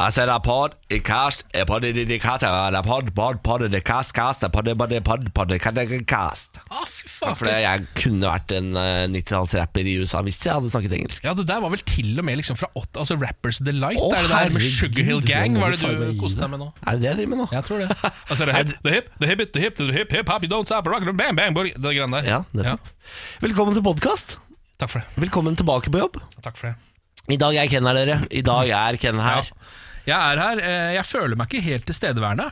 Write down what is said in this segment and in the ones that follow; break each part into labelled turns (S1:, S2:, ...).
S1: Altså, der er pod, en cast, er pod, en indikator, der er pod, pod, pod, en cast, cast, der er pod, en pod, en pod, pod, en pod, en cast.
S2: Ah, fy faen.
S1: For det- jeg kunne vært en eh, 90-tallsrapper i USA hvis jeg hadde snakket engelsk.
S2: Ja, det der var vel til og med liksom fra 8 Altså Rappers Delight.
S1: Å,
S2: er det der med
S1: herregud,
S2: Sugarhill
S1: nå
S2: Gang?
S1: må
S2: Hva er
S1: du
S2: det
S1: faen meg
S2: du
S1: gi
S2: koser deg med nå?
S1: Er det det jeg driver med nå?
S2: Jeg tror det. Altså, the hip, the hip, the hip, it, the hip, the hip, hip, hop, you don't stop, rock, bang, bang, bang, det greiene der.
S1: Ja, nettopp. Velkommen til podkast.
S2: Takk for det.
S1: Velkommen tilbake på jobb.
S2: Takk for det.
S1: I dag er Ken her, dere. I dag er Ken her.
S2: Her. Jeg er her. eh, Jeg føler meg ikke helt tilstedeværende.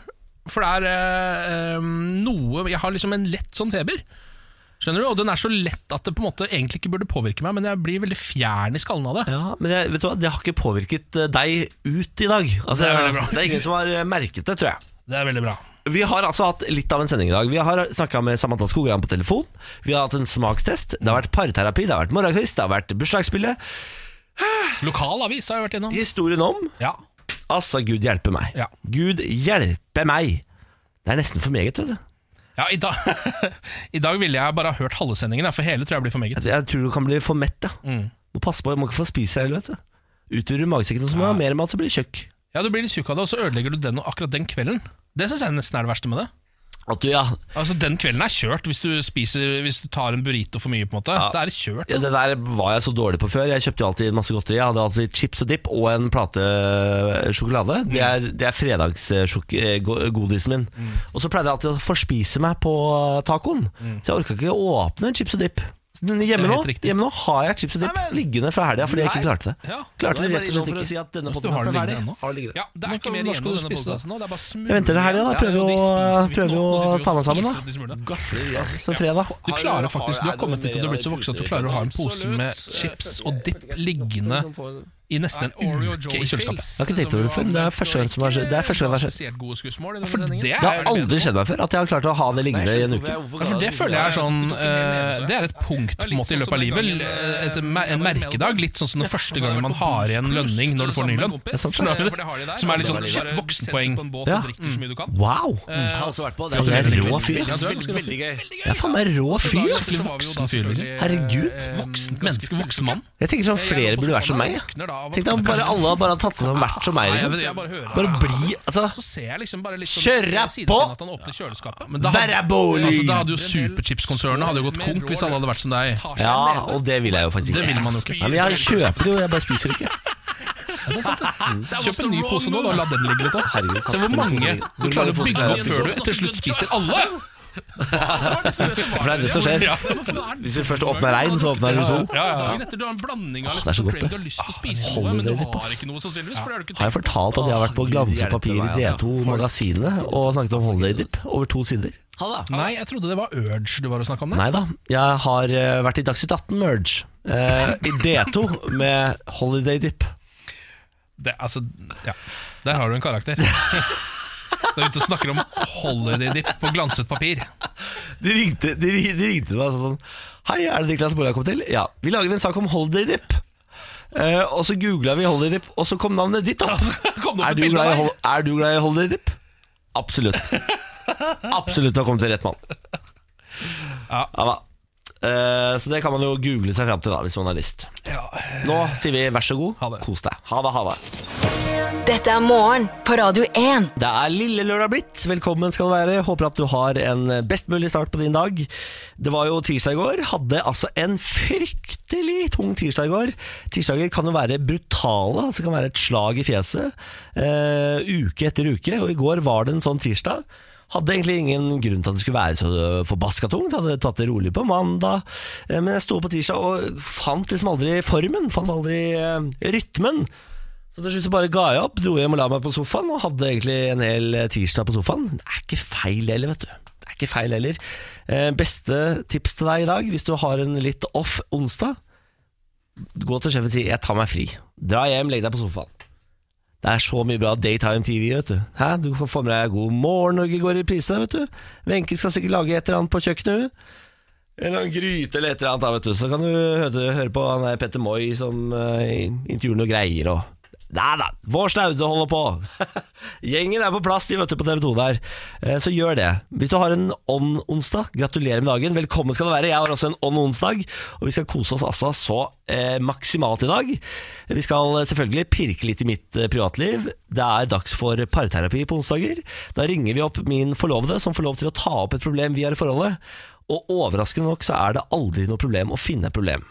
S2: For det er eh, eh, noe Jeg har liksom en lett sånn feber. Skjønner du? Og den er så lett at det på en måte egentlig ikke burde påvirke meg, men jeg blir veldig fjern i skallen av det.
S1: Ja, men jeg, vet du hva, det har ikke påvirket eh, deg ut i dag. Altså,
S2: Det er veldig bra.
S1: det er ingen som har eh, merket det, tror jeg.
S2: Det er veldig bra.
S1: Vi har altså hatt litt av en sending i dag. Vi har snakka med Samantha Skogran på telefon. Vi har hatt en smakstest. Det har vært parterapi, det har vært morgenkvist, det har vært bursdagsspillet.
S2: Lokal avis har jeg vært innom.
S1: Historien om
S2: Ja.
S1: Altså, Gud hjelpe meg.
S2: Ja.
S1: Gud hjelpe meg! Det er nesten for meget, vet du.
S2: Ja, i, dag, I dag ville jeg bare ha hørt halve sendingen, ja, for hele tror jeg blir for meget.
S1: Jeg tror du kan bli for mett, ja. Må passe på, du må ikke få spise deg, vet du. Utvider du magesekken, og så må du ha mer mat, så blir du tjukk.
S2: Ja, Du blir litt tjukk av det, og så ødelegger du den og akkurat den kvelden. Det syns jeg nesten er det verste med det.
S1: At du, ja,
S2: Altså, Den kvelden er kjørt hvis du spiser Hvis du tar en burrito for mye. på en måte Det er det kjørt.
S1: Ja, det der var jeg så dårlig på før. Jeg kjøpte jo alltid masse godteri. Jeg hadde alltid chips og dip og en plate eh, sjokolade. Det er,
S2: Mm.
S1: det er fredagsgodisen min. Og så pleide jeg alltid å forspise meg på tacoen. Så jeg orka ikke å åpne en chips og dip. Så den Hjemme
S2: Mm. Det er
S1: nå,
S2: helt riktig.
S1: hjemme nå har jeg chips og dip liggende fra helga fordi jeg ikke
S2: Nei.
S1: klarte det.
S2: Ja.
S1: Klarte det
S2: Da
S1: rett og
S2: er det
S1: slett
S2: bare innom for å
S1: ikke.
S2: si at
S1: Hvis
S2: denne
S1: du
S2: podcasten
S1: har
S2: er
S1: den
S2: ferdig.
S1: liggende ennå.
S2: Ja, Det er ikke mer
S1: Når
S2: igjen
S1: skal
S2: av
S1: du
S2: denne
S1: spise det?
S2: podkasten nå. Det er bare smule.
S1: Jeg venter til helga, da.
S2: Ja,
S1: Prøver
S2: ja, de
S1: å-
S2: spiser vi
S1: prøver
S2: nå. Nå
S1: å
S2: sitter vi og
S1: ta meg sammen,
S2: spiser
S1: da. Mm.
S2: opp disse smulene.
S1: Gafler, ass, til fredag.
S2: Du klarer faktisk, du har kommet dit og du er blitt så voksen at du klarer å ha en pose med chips og dipp liggende i nesten en uke i kjøleskapet.
S1: Jeg har ikke tenkt over det før, men det er første gang som har skjedd- det er første gang det har skjedd.
S3: Spesielt gode skussmål i denne
S2: For
S3: sendingen.
S2: det,
S1: Det har aldri skjedd meg før at jeg har klart å ha det liggende i en uke.
S2: Ja, for det føler jeg er sånn eh, Det er et punkt på en måte i løpet av livet. eh, Et, me- en merkedag. Litt sånn som den første gangen man har igjen lønning når du får ny lønn. Skjønner du det? Som er litt sånn shit, voksenpoeng.
S1: Ja.
S3: Ja. Mm.
S1: Wow!
S2: Eh,
S3: Jeg har også vært på
S1: Altså, jeg er en rå fyr, ass.
S3: Veldig, veldig gøy.
S1: Jeg er faen meg rå fyr, ass.
S2: Veldig voksen fyr, liksom.
S1: Herregud.
S2: Voksen menneske, voksen mann.
S1: Jeg tenker sånn flere burde vært som meg. jeg. Tenk deg om bare alle hadde bare tatt seg som hvert som meg.
S2: Nei, jeg bare
S1: Liksom.
S2: hører.
S1: Bare bli Altså,
S2: Så ser jeg liksom bare litt
S1: Kjøre
S2: ved siden
S1: på!
S2: av at han åpner kjøleskapet. Men da hadde-
S1: Være bolig!
S2: Altså, da hadde jo Superchips-konsernet Hadde jo gått konk hvis alle hadde vært som deg.
S1: ja, og det vil jeg jo faktisk
S2: Det vil
S1: ikke.
S2: man jo ikke.
S1: Nei, men jeg kjøper det jo, jeg bare spiser det ikke.
S2: Kjøp en ny pose nå, da, og la den ligge litt. da.
S1: Herregud,
S2: Se hvor mange du klarer å bygge opp før du til slutt spiser alle!
S1: For det er det som skjer. Hvis vi først åpner én, så åpner jeg to.
S2: Ja, ja. Dagen etter du har en blanding av
S1: Åh, det er så godt,
S2: du
S1: det.
S2: har lyst til å spise
S1: Holder
S2: noe, men du
S1: det litt,
S2: har
S1: ass.
S2: ikke noe sannsynligvis. For det har du ikke
S1: Har jeg fortalt at jeg har vært på Glanse papir i D2-magasinet og snakket om Holiday Dip over to sider?
S2: tenkt. Nei, jeg trodde det var Urge du var og snakka om der.
S1: Nei da. Jeg har eh, vært i Dagsnytt 18 Merge. eh, I D2 med Holiday Dip.
S2: Det, altså, ja. Der har du en karakter. Du er ute og snakker om holiday dip på glanset papir.
S1: De ringte, de, ri- de ringte meg og sa sånn Hei, er det Niklas Bolle jeg kom til? Ja, vi lager en sak om Holiday Dip Eh, Og så googlet vi Holiday Dip Og så kom navnet ditt opp
S2: Kom det opp
S1: er,
S2: et
S1: du
S2: bilde
S1: glad i,
S2: av deg?
S1: hol- er du glad i Holiday Dip? Absolutt Absolutt, du har kommet til rett mann
S2: Ja.
S1: da. Eh, Så det kan man jo google seg frem til da Hvis man har lyst
S2: Ja.
S1: Nå sier vi vær så god,
S2: Ha det.
S1: kos deg Ha det, ha det
S4: Dette er morgen på Radio 1.
S1: Det er lille lørdag blitt. Velkommen skal du være. Håper at du har en best mulig start på din dag. Det var jo tirsdag i går. Hadde altså en fryktelig tung tirsdag i går. Tirsdager kan jo være brutale. altså Kan være et slag i fjeset eh, uke etter uke. Og i går var det en sånn tirsdag. Hadde egentlig ingen grunn til at det skulle være så forbaska tungt. Hadde tatt det rolig på mandag. Eh, Men jeg sto opp på tirsdag og fant liksom aldri formen. Fant aldri eh, rytmen. Så til slutt så bare ga jeg opp, dro hjem og la meg på sofaen, og hadde egentlig en hel eh, tirsdag på sofaen. Det er ikke feil heller, vet du. Det er ikke feil heller. Eh, beste tips til deg i dag, hvis du har en litt off onsdag, gå til sjefen og si 'jeg tar meg fri'. Dra hjem, legg deg på sofaen. Det er så mye bra daytime TV, vet du. Hæ? Du får få med deg God morgen Norge går i reprise, vet du. Wenche skal sikkert lage et eller annet på kjøkkenet, hun. En eller annen gryte eller et eller annet, da, vet du. Så kan du høre, høre på han der Petter Moi som eh, intervjuer noe greier og Nei da, vår snaude holder på. Gjengen er på plass, de vet du, på TV 2 der. Eh, Så gjør det. Hvis du har en on-onsdag, gratulerer med dagen. Velkommen skal du være. Jeg har også en on-onsdag, og vi skal kose oss altså så eh, maksimalt i dag. Vi skal selvfølgelig pirke litt i mitt eh, privatliv. Det er dags for parterapi på onsdager. Da ringer vi opp min forlovede, som får lov til å ta opp et problem vi har i forholdet. Og overraskende nok så er det aldri noe problem å finne et problem.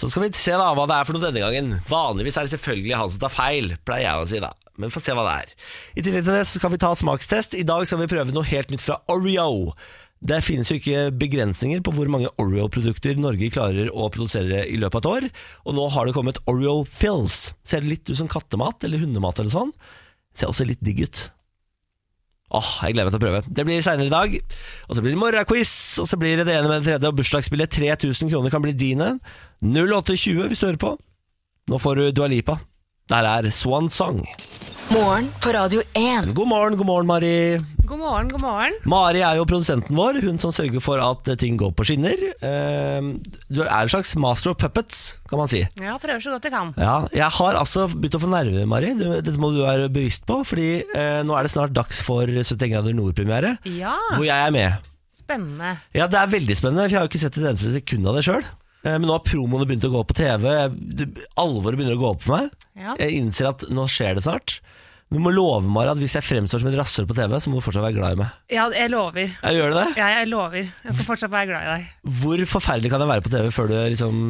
S1: Så skal vi se da hva det er for noe denne gangen. Vanligvis er det selvfølgelig han som tar feil, pleier jeg å si da. Men få se hva det er. I tillegg til det så skal vi ta smakstest. I dag skal vi prøve noe helt nytt fra Oreo. Det finnes jo ikke begrensninger på hvor mange Oreo-produkter Norge klarer å produsere i løpet av et år. Og nå har det kommet Oreo Fills. Ser det litt ut som kattemat eller hundemat eller sånn. Ser også litt digg ut. Åh, jeg gleder meg til å prøve. Det blir seinere i dag. Og så blir det morgenquiz, og så blir det det ene med det tredje. Og bursdagsbillet 3000 kroner kan bli dine. 0820 hvis du hører på. Nå får du Dua Lipa. Der er Swan Song.
S4: Morgen på Radio 1.
S1: God morgen, god morgen, Mari.
S5: God morgen, god morgen.
S1: Mari er jo produsenten vår. Hun som sørger for at ting går på skinner. Eh, Du er en slags master of puppets, kan man si.
S5: Ja, prøver så godt jeg kan.
S1: Ja, jeg har altså begynt å få nerver, Mari. Du, dette må du være bevisst på, fordi eh, nå er det snart dags for 71 grader nord-premiere,
S5: Ja,
S1: hvor jeg er med.
S5: spennende.
S1: Ja, det er veldig spennende, for jeg har jo ikke sett et eneste sekund av det sjøl. Men nå har promoene begynt å gå på TV. Det- Alvoret begynner å gå opp for meg.
S5: Ja.
S1: Jeg innser at nå skjer det snart. Du må love Mari at hvis jeg fremstår som et rasshøl på TV, så må du fortsatt være glad i meg.
S5: Ja, jeg lover.
S1: Jeg gjør det?
S5: Ja, jeg lover. Jeg skal fortsatt være glad i deg.
S1: Hvor forferdelig kan jeg være på TV før du liksom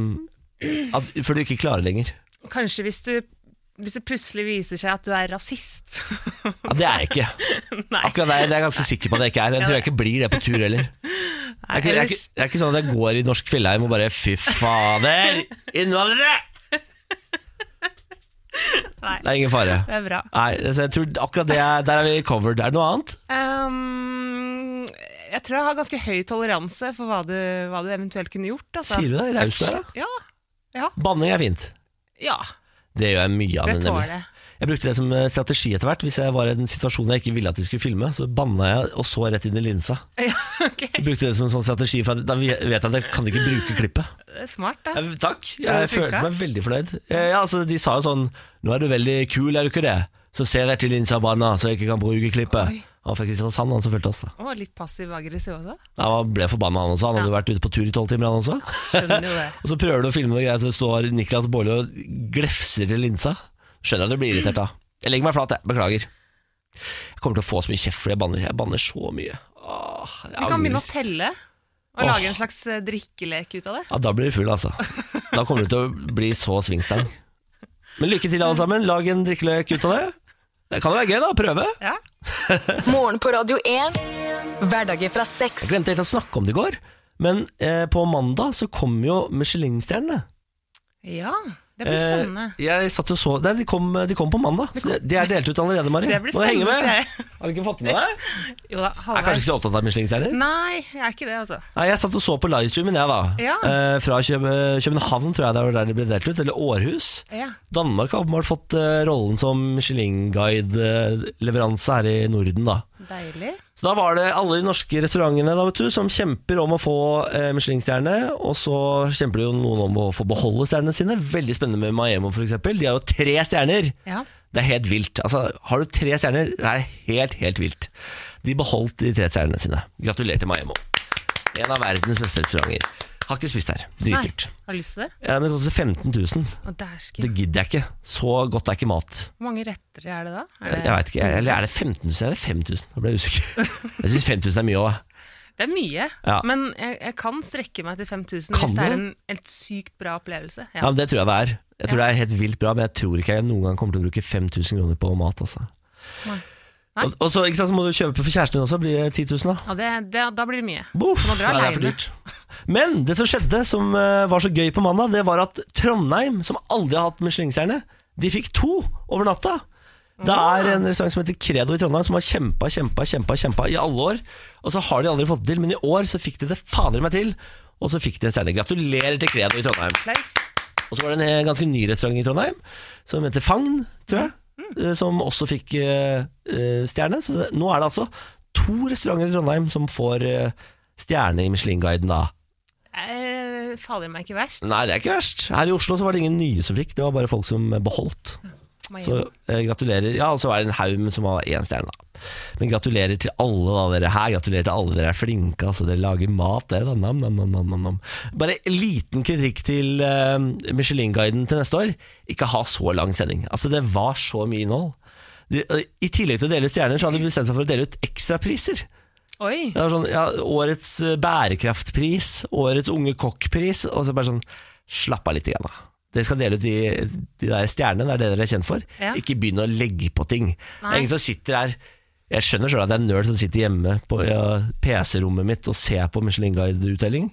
S1: at, Før du ikke klarer lenger?
S5: Kanskje hvis, du, hvis det plutselig viser seg at du er rasist.
S1: Ja, det er jeg ikke.
S5: Nei.
S1: Akkurat det, det er jeg ganske sikker på at jeg ikke er. Jeg tror jeg ikke blir det på tur heller. Det er ikke, det er ikke, det er ikke sånn at jeg går i norsk fjellheim og bare Fy fader, innvandrere!
S5: Nei.
S1: Det er ingen fare.
S5: Det er bra.
S1: Nei, altså jeg tror akkurat det er, der er vi covered. Er det noe annet?
S5: Ehm, jeg tror jeg har ganske høy toleranse for hva du, hva du eventuelt kunne gjort. Altså.
S1: Sier du det? Raus der, da.
S5: Ja.
S1: Banning er fint.
S5: ja,
S1: Det gjør jeg mye av.
S5: det
S1: nemlig.
S5: tåler jeg.
S1: Jeg brukte det som eh, strategi etter hvert. Hvis jeg var i en situasjon jeg ikke ville at de skulle filme, så banna jeg og så rett inn i linsa.
S5: Ja, ok.
S1: Jeg brukte det som en sånn strategi, for at- da vet jeg at jeg kan ikke bruke klippet.
S5: Det er Smart, da.
S1: Jeg, takk.
S5: Ja,
S1: Jeg
S5: det funka.
S1: følte meg veldig fornøyd. Eh, Ja, altså, de sa jo sånn Nå er du veldig kul, er du ikke det? Så ser jeg rett i linsa og banna, så jeg ikke kan bruke klippet.
S5: Oi.
S1: Han fra Kristiansand, han som fulgte oss. da.
S5: Å, litt passiv-aggressiv også.
S1: Ja, Han ble forbanna, han også. Han hadde jo vært ute på tur i tolv timer, han også.
S5: Skjønner jo det.
S1: Og så prøver du å filme noe greier, så står Niklas Baarli og glefser til linsa. Skjønner at du blir irritert da. Jeg legger meg flat, jeg. Beklager. Jeg kommer til å få så mye kjeft fordi jeg banner. Jeg banner så mye. Åh, jeg
S5: Vi kan
S1: angrer.
S5: begynne å telle og
S1: Åh.
S5: lage en slags eh, drikkelek ut av det.
S1: Ja, da blir du full, altså. Da kommer du til å bli så svingstang. Men lykke til, alle sammen. Lag en drikkeløk ut av det. Det kan jo være gøy, da. Prøve.
S5: Ja.
S4: Morgen på Radio 1. Hverdager fra seks.
S1: Jeg glemte helt å snakke om det i går, men eh, på mandag så kom jo Michelin-stjernene.
S5: ja, det blir spennende.
S1: Eh, jeg satt og så Nei, de kom, de kom på mandag. Så de- de er delt ut allerede, Mari.
S5: Det blir
S1: Må du henge
S5: spennende.
S1: med.
S5: ser jeg.
S1: Har du ikke fått med deg?
S5: Jo da,
S1: Jeg er kanskje
S5: halvveis.
S1: ikke så opptatt av Michelin-stjerner?
S5: Nei, jeg er ikke det, altså.
S1: Nei, Jeg satt og så på livestreamen, jeg, da.
S5: Ja.
S1: Eh, fra Køb København, tror jeg det var der det ble delt ut. Eller Århus.
S5: Ja.
S1: Danmark har åpenbart fått eh, rollen som Michelin-guide-leveranse her i Norden, da.
S5: Deilig.
S1: Så da var det alle de norske restaurantene da, vet du, som kjemper om å få eh, Michelin-stjerne, og så kjemper jo noen om å få beholde stjernene sine. Veldig spennende med Maemo, f.eks. De har jo tre stjerner.
S5: Ja.
S1: Det er helt vilt. Altså, har du tre stjerner, det er helt, helt vilt. De beholdt de tre stjernene sine. Gratulerer til Maemo. En av verdens beste restauranter. Har ikke spist her.
S5: Nei,
S1: Dritdyrt.
S5: har du lyst til det?
S1: Ja, men det koster 15 000.
S5: Å, dæsken.
S1: Det gidder jeg ikke. Så godt er ikke mat.
S5: Hvor mange retter er det da? Er
S1: Jeg
S5: det,
S1: vet ikke, Eller er det 15 000? Eller 5000? Da ble jeg usikker. Jeg syns 5000 er mye òg.
S5: det er mye,
S1: Ja.
S5: men jeg, jeg kan strekke meg til 5000
S1: Kan
S5: hvis det
S1: du?
S5: er en helt sykt bra opplevelse.
S1: Ja,
S5: Ja.
S1: men Det tror jeg det er. Jeg tror
S5: Ja.
S1: det er helt vilt bra, men jeg tror ikke jeg noen gang kommer til å bruke 5000 kroner på mat. altså
S5: Nei. Nei.
S1: Og, og så, ikke sant, så må du kjøpe for kjæresten din også, blir det 10 000 da.
S5: Ja, det, det, da blir det mye.
S1: Boff,
S5: Må dra
S1: nei, det er for
S5: alene.
S1: dyrt. Men det som skjedde, som eh, var så gøy på mandag, det var at Trondheim, som aldri har hatt Michelin-stjerne, de fikk to over natta. Det
S5: Ah.
S1: er en restaurant som heter Credo i Trondheim, som har kjempa, kjempa, kjempa, kjempa i alle år. Og så har de aldri fått det til, men i år så fikk de det fader meg til. Og så fikk de en stjerne. Gratulerer til Credo i Trondheim.
S5: Applaus.
S1: Og så var det en eh, ganske ny restaurant i Trondheim Som heter Fagn, tror jeg eh, Som også fikk eh, eh, stjerne Så det, nå er det altså to restauranter i Trondheim Som får eh, stjerne i Michelin-guiden da
S5: Det er- faller Eh, meg ikke verst.
S1: Nei, det er ikke verst Her i Oslo så var det ingen nye som fikk Det var bare folk som beholdt Så
S5: Miami.
S1: eh, gratulerer. Ja, og så var det en haug som var én stjerne, da. Men gratulerer til alle da, dere her. Gratulerer til alle dere er flinke. Altså, dere lager mat, dere. Da. Nam, nam, nam, nam, nam, nam. Bare en liten kritikk til eh, Michelin-guiden til neste år. Ikke ha så lang sending. Altså, det var så mye innhold. De, eh, I tillegg til å dele ut stjerner, så hadde de bestemt seg for å dele ut ekstrapriser.
S5: Oi.
S1: Det var sånn, ja, årets eh, bærekraftpris, årets unge kokkpris, og så bare sånn, slapp av litt igjen da. Dere skal dele ut de, de der stjernene, det er det dere er kjent for.
S5: Ja.
S1: Ikke begynne å legge på ting. Det
S5: Nei.
S1: er ingen som sitter her, jeg skjønner selv at det er en nerd som sitter hjemme på ja, PC-rommet mitt og ser på Michelin Guide-uttelling,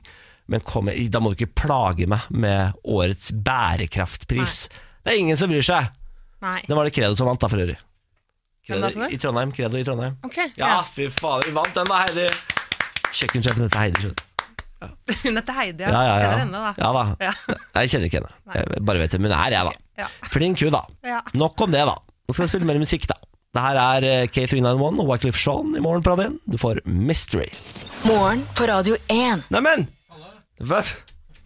S1: men kom, med- da må du ikke plage meg med årets bærekraftpris. Det er ingen som bryr seg.
S5: Nei.
S1: Det var det Credo som vant da for øvrig.
S5: Hvem da,
S1: Credo
S5: sa
S1: i
S5: du?
S1: Trondheim, Credo i Trondheim.
S5: Ok.
S1: Ja, fy faen, vi vant den da, Heidi. Kjøkkensjefen heter Heidi. skjønner du.
S5: Hun heter Heidi, ja.
S1: Ja, ja, ja.
S5: Kjenner henne, da.
S1: ja da.
S5: Ja.
S1: Jeg kjenner ikke henne. Jeg bare vet hvem hun er, jeg, da.
S5: Ja.
S1: Flink hun, da.
S5: Ja.
S1: Nok om det, da. Nå skal vi spille mer musikk, da. Det her er eh, K391 og Wyclef Jean i morgen på radioen. Du får Mystery.
S4: Morgen på Radio 1.
S1: Neimen! Hva,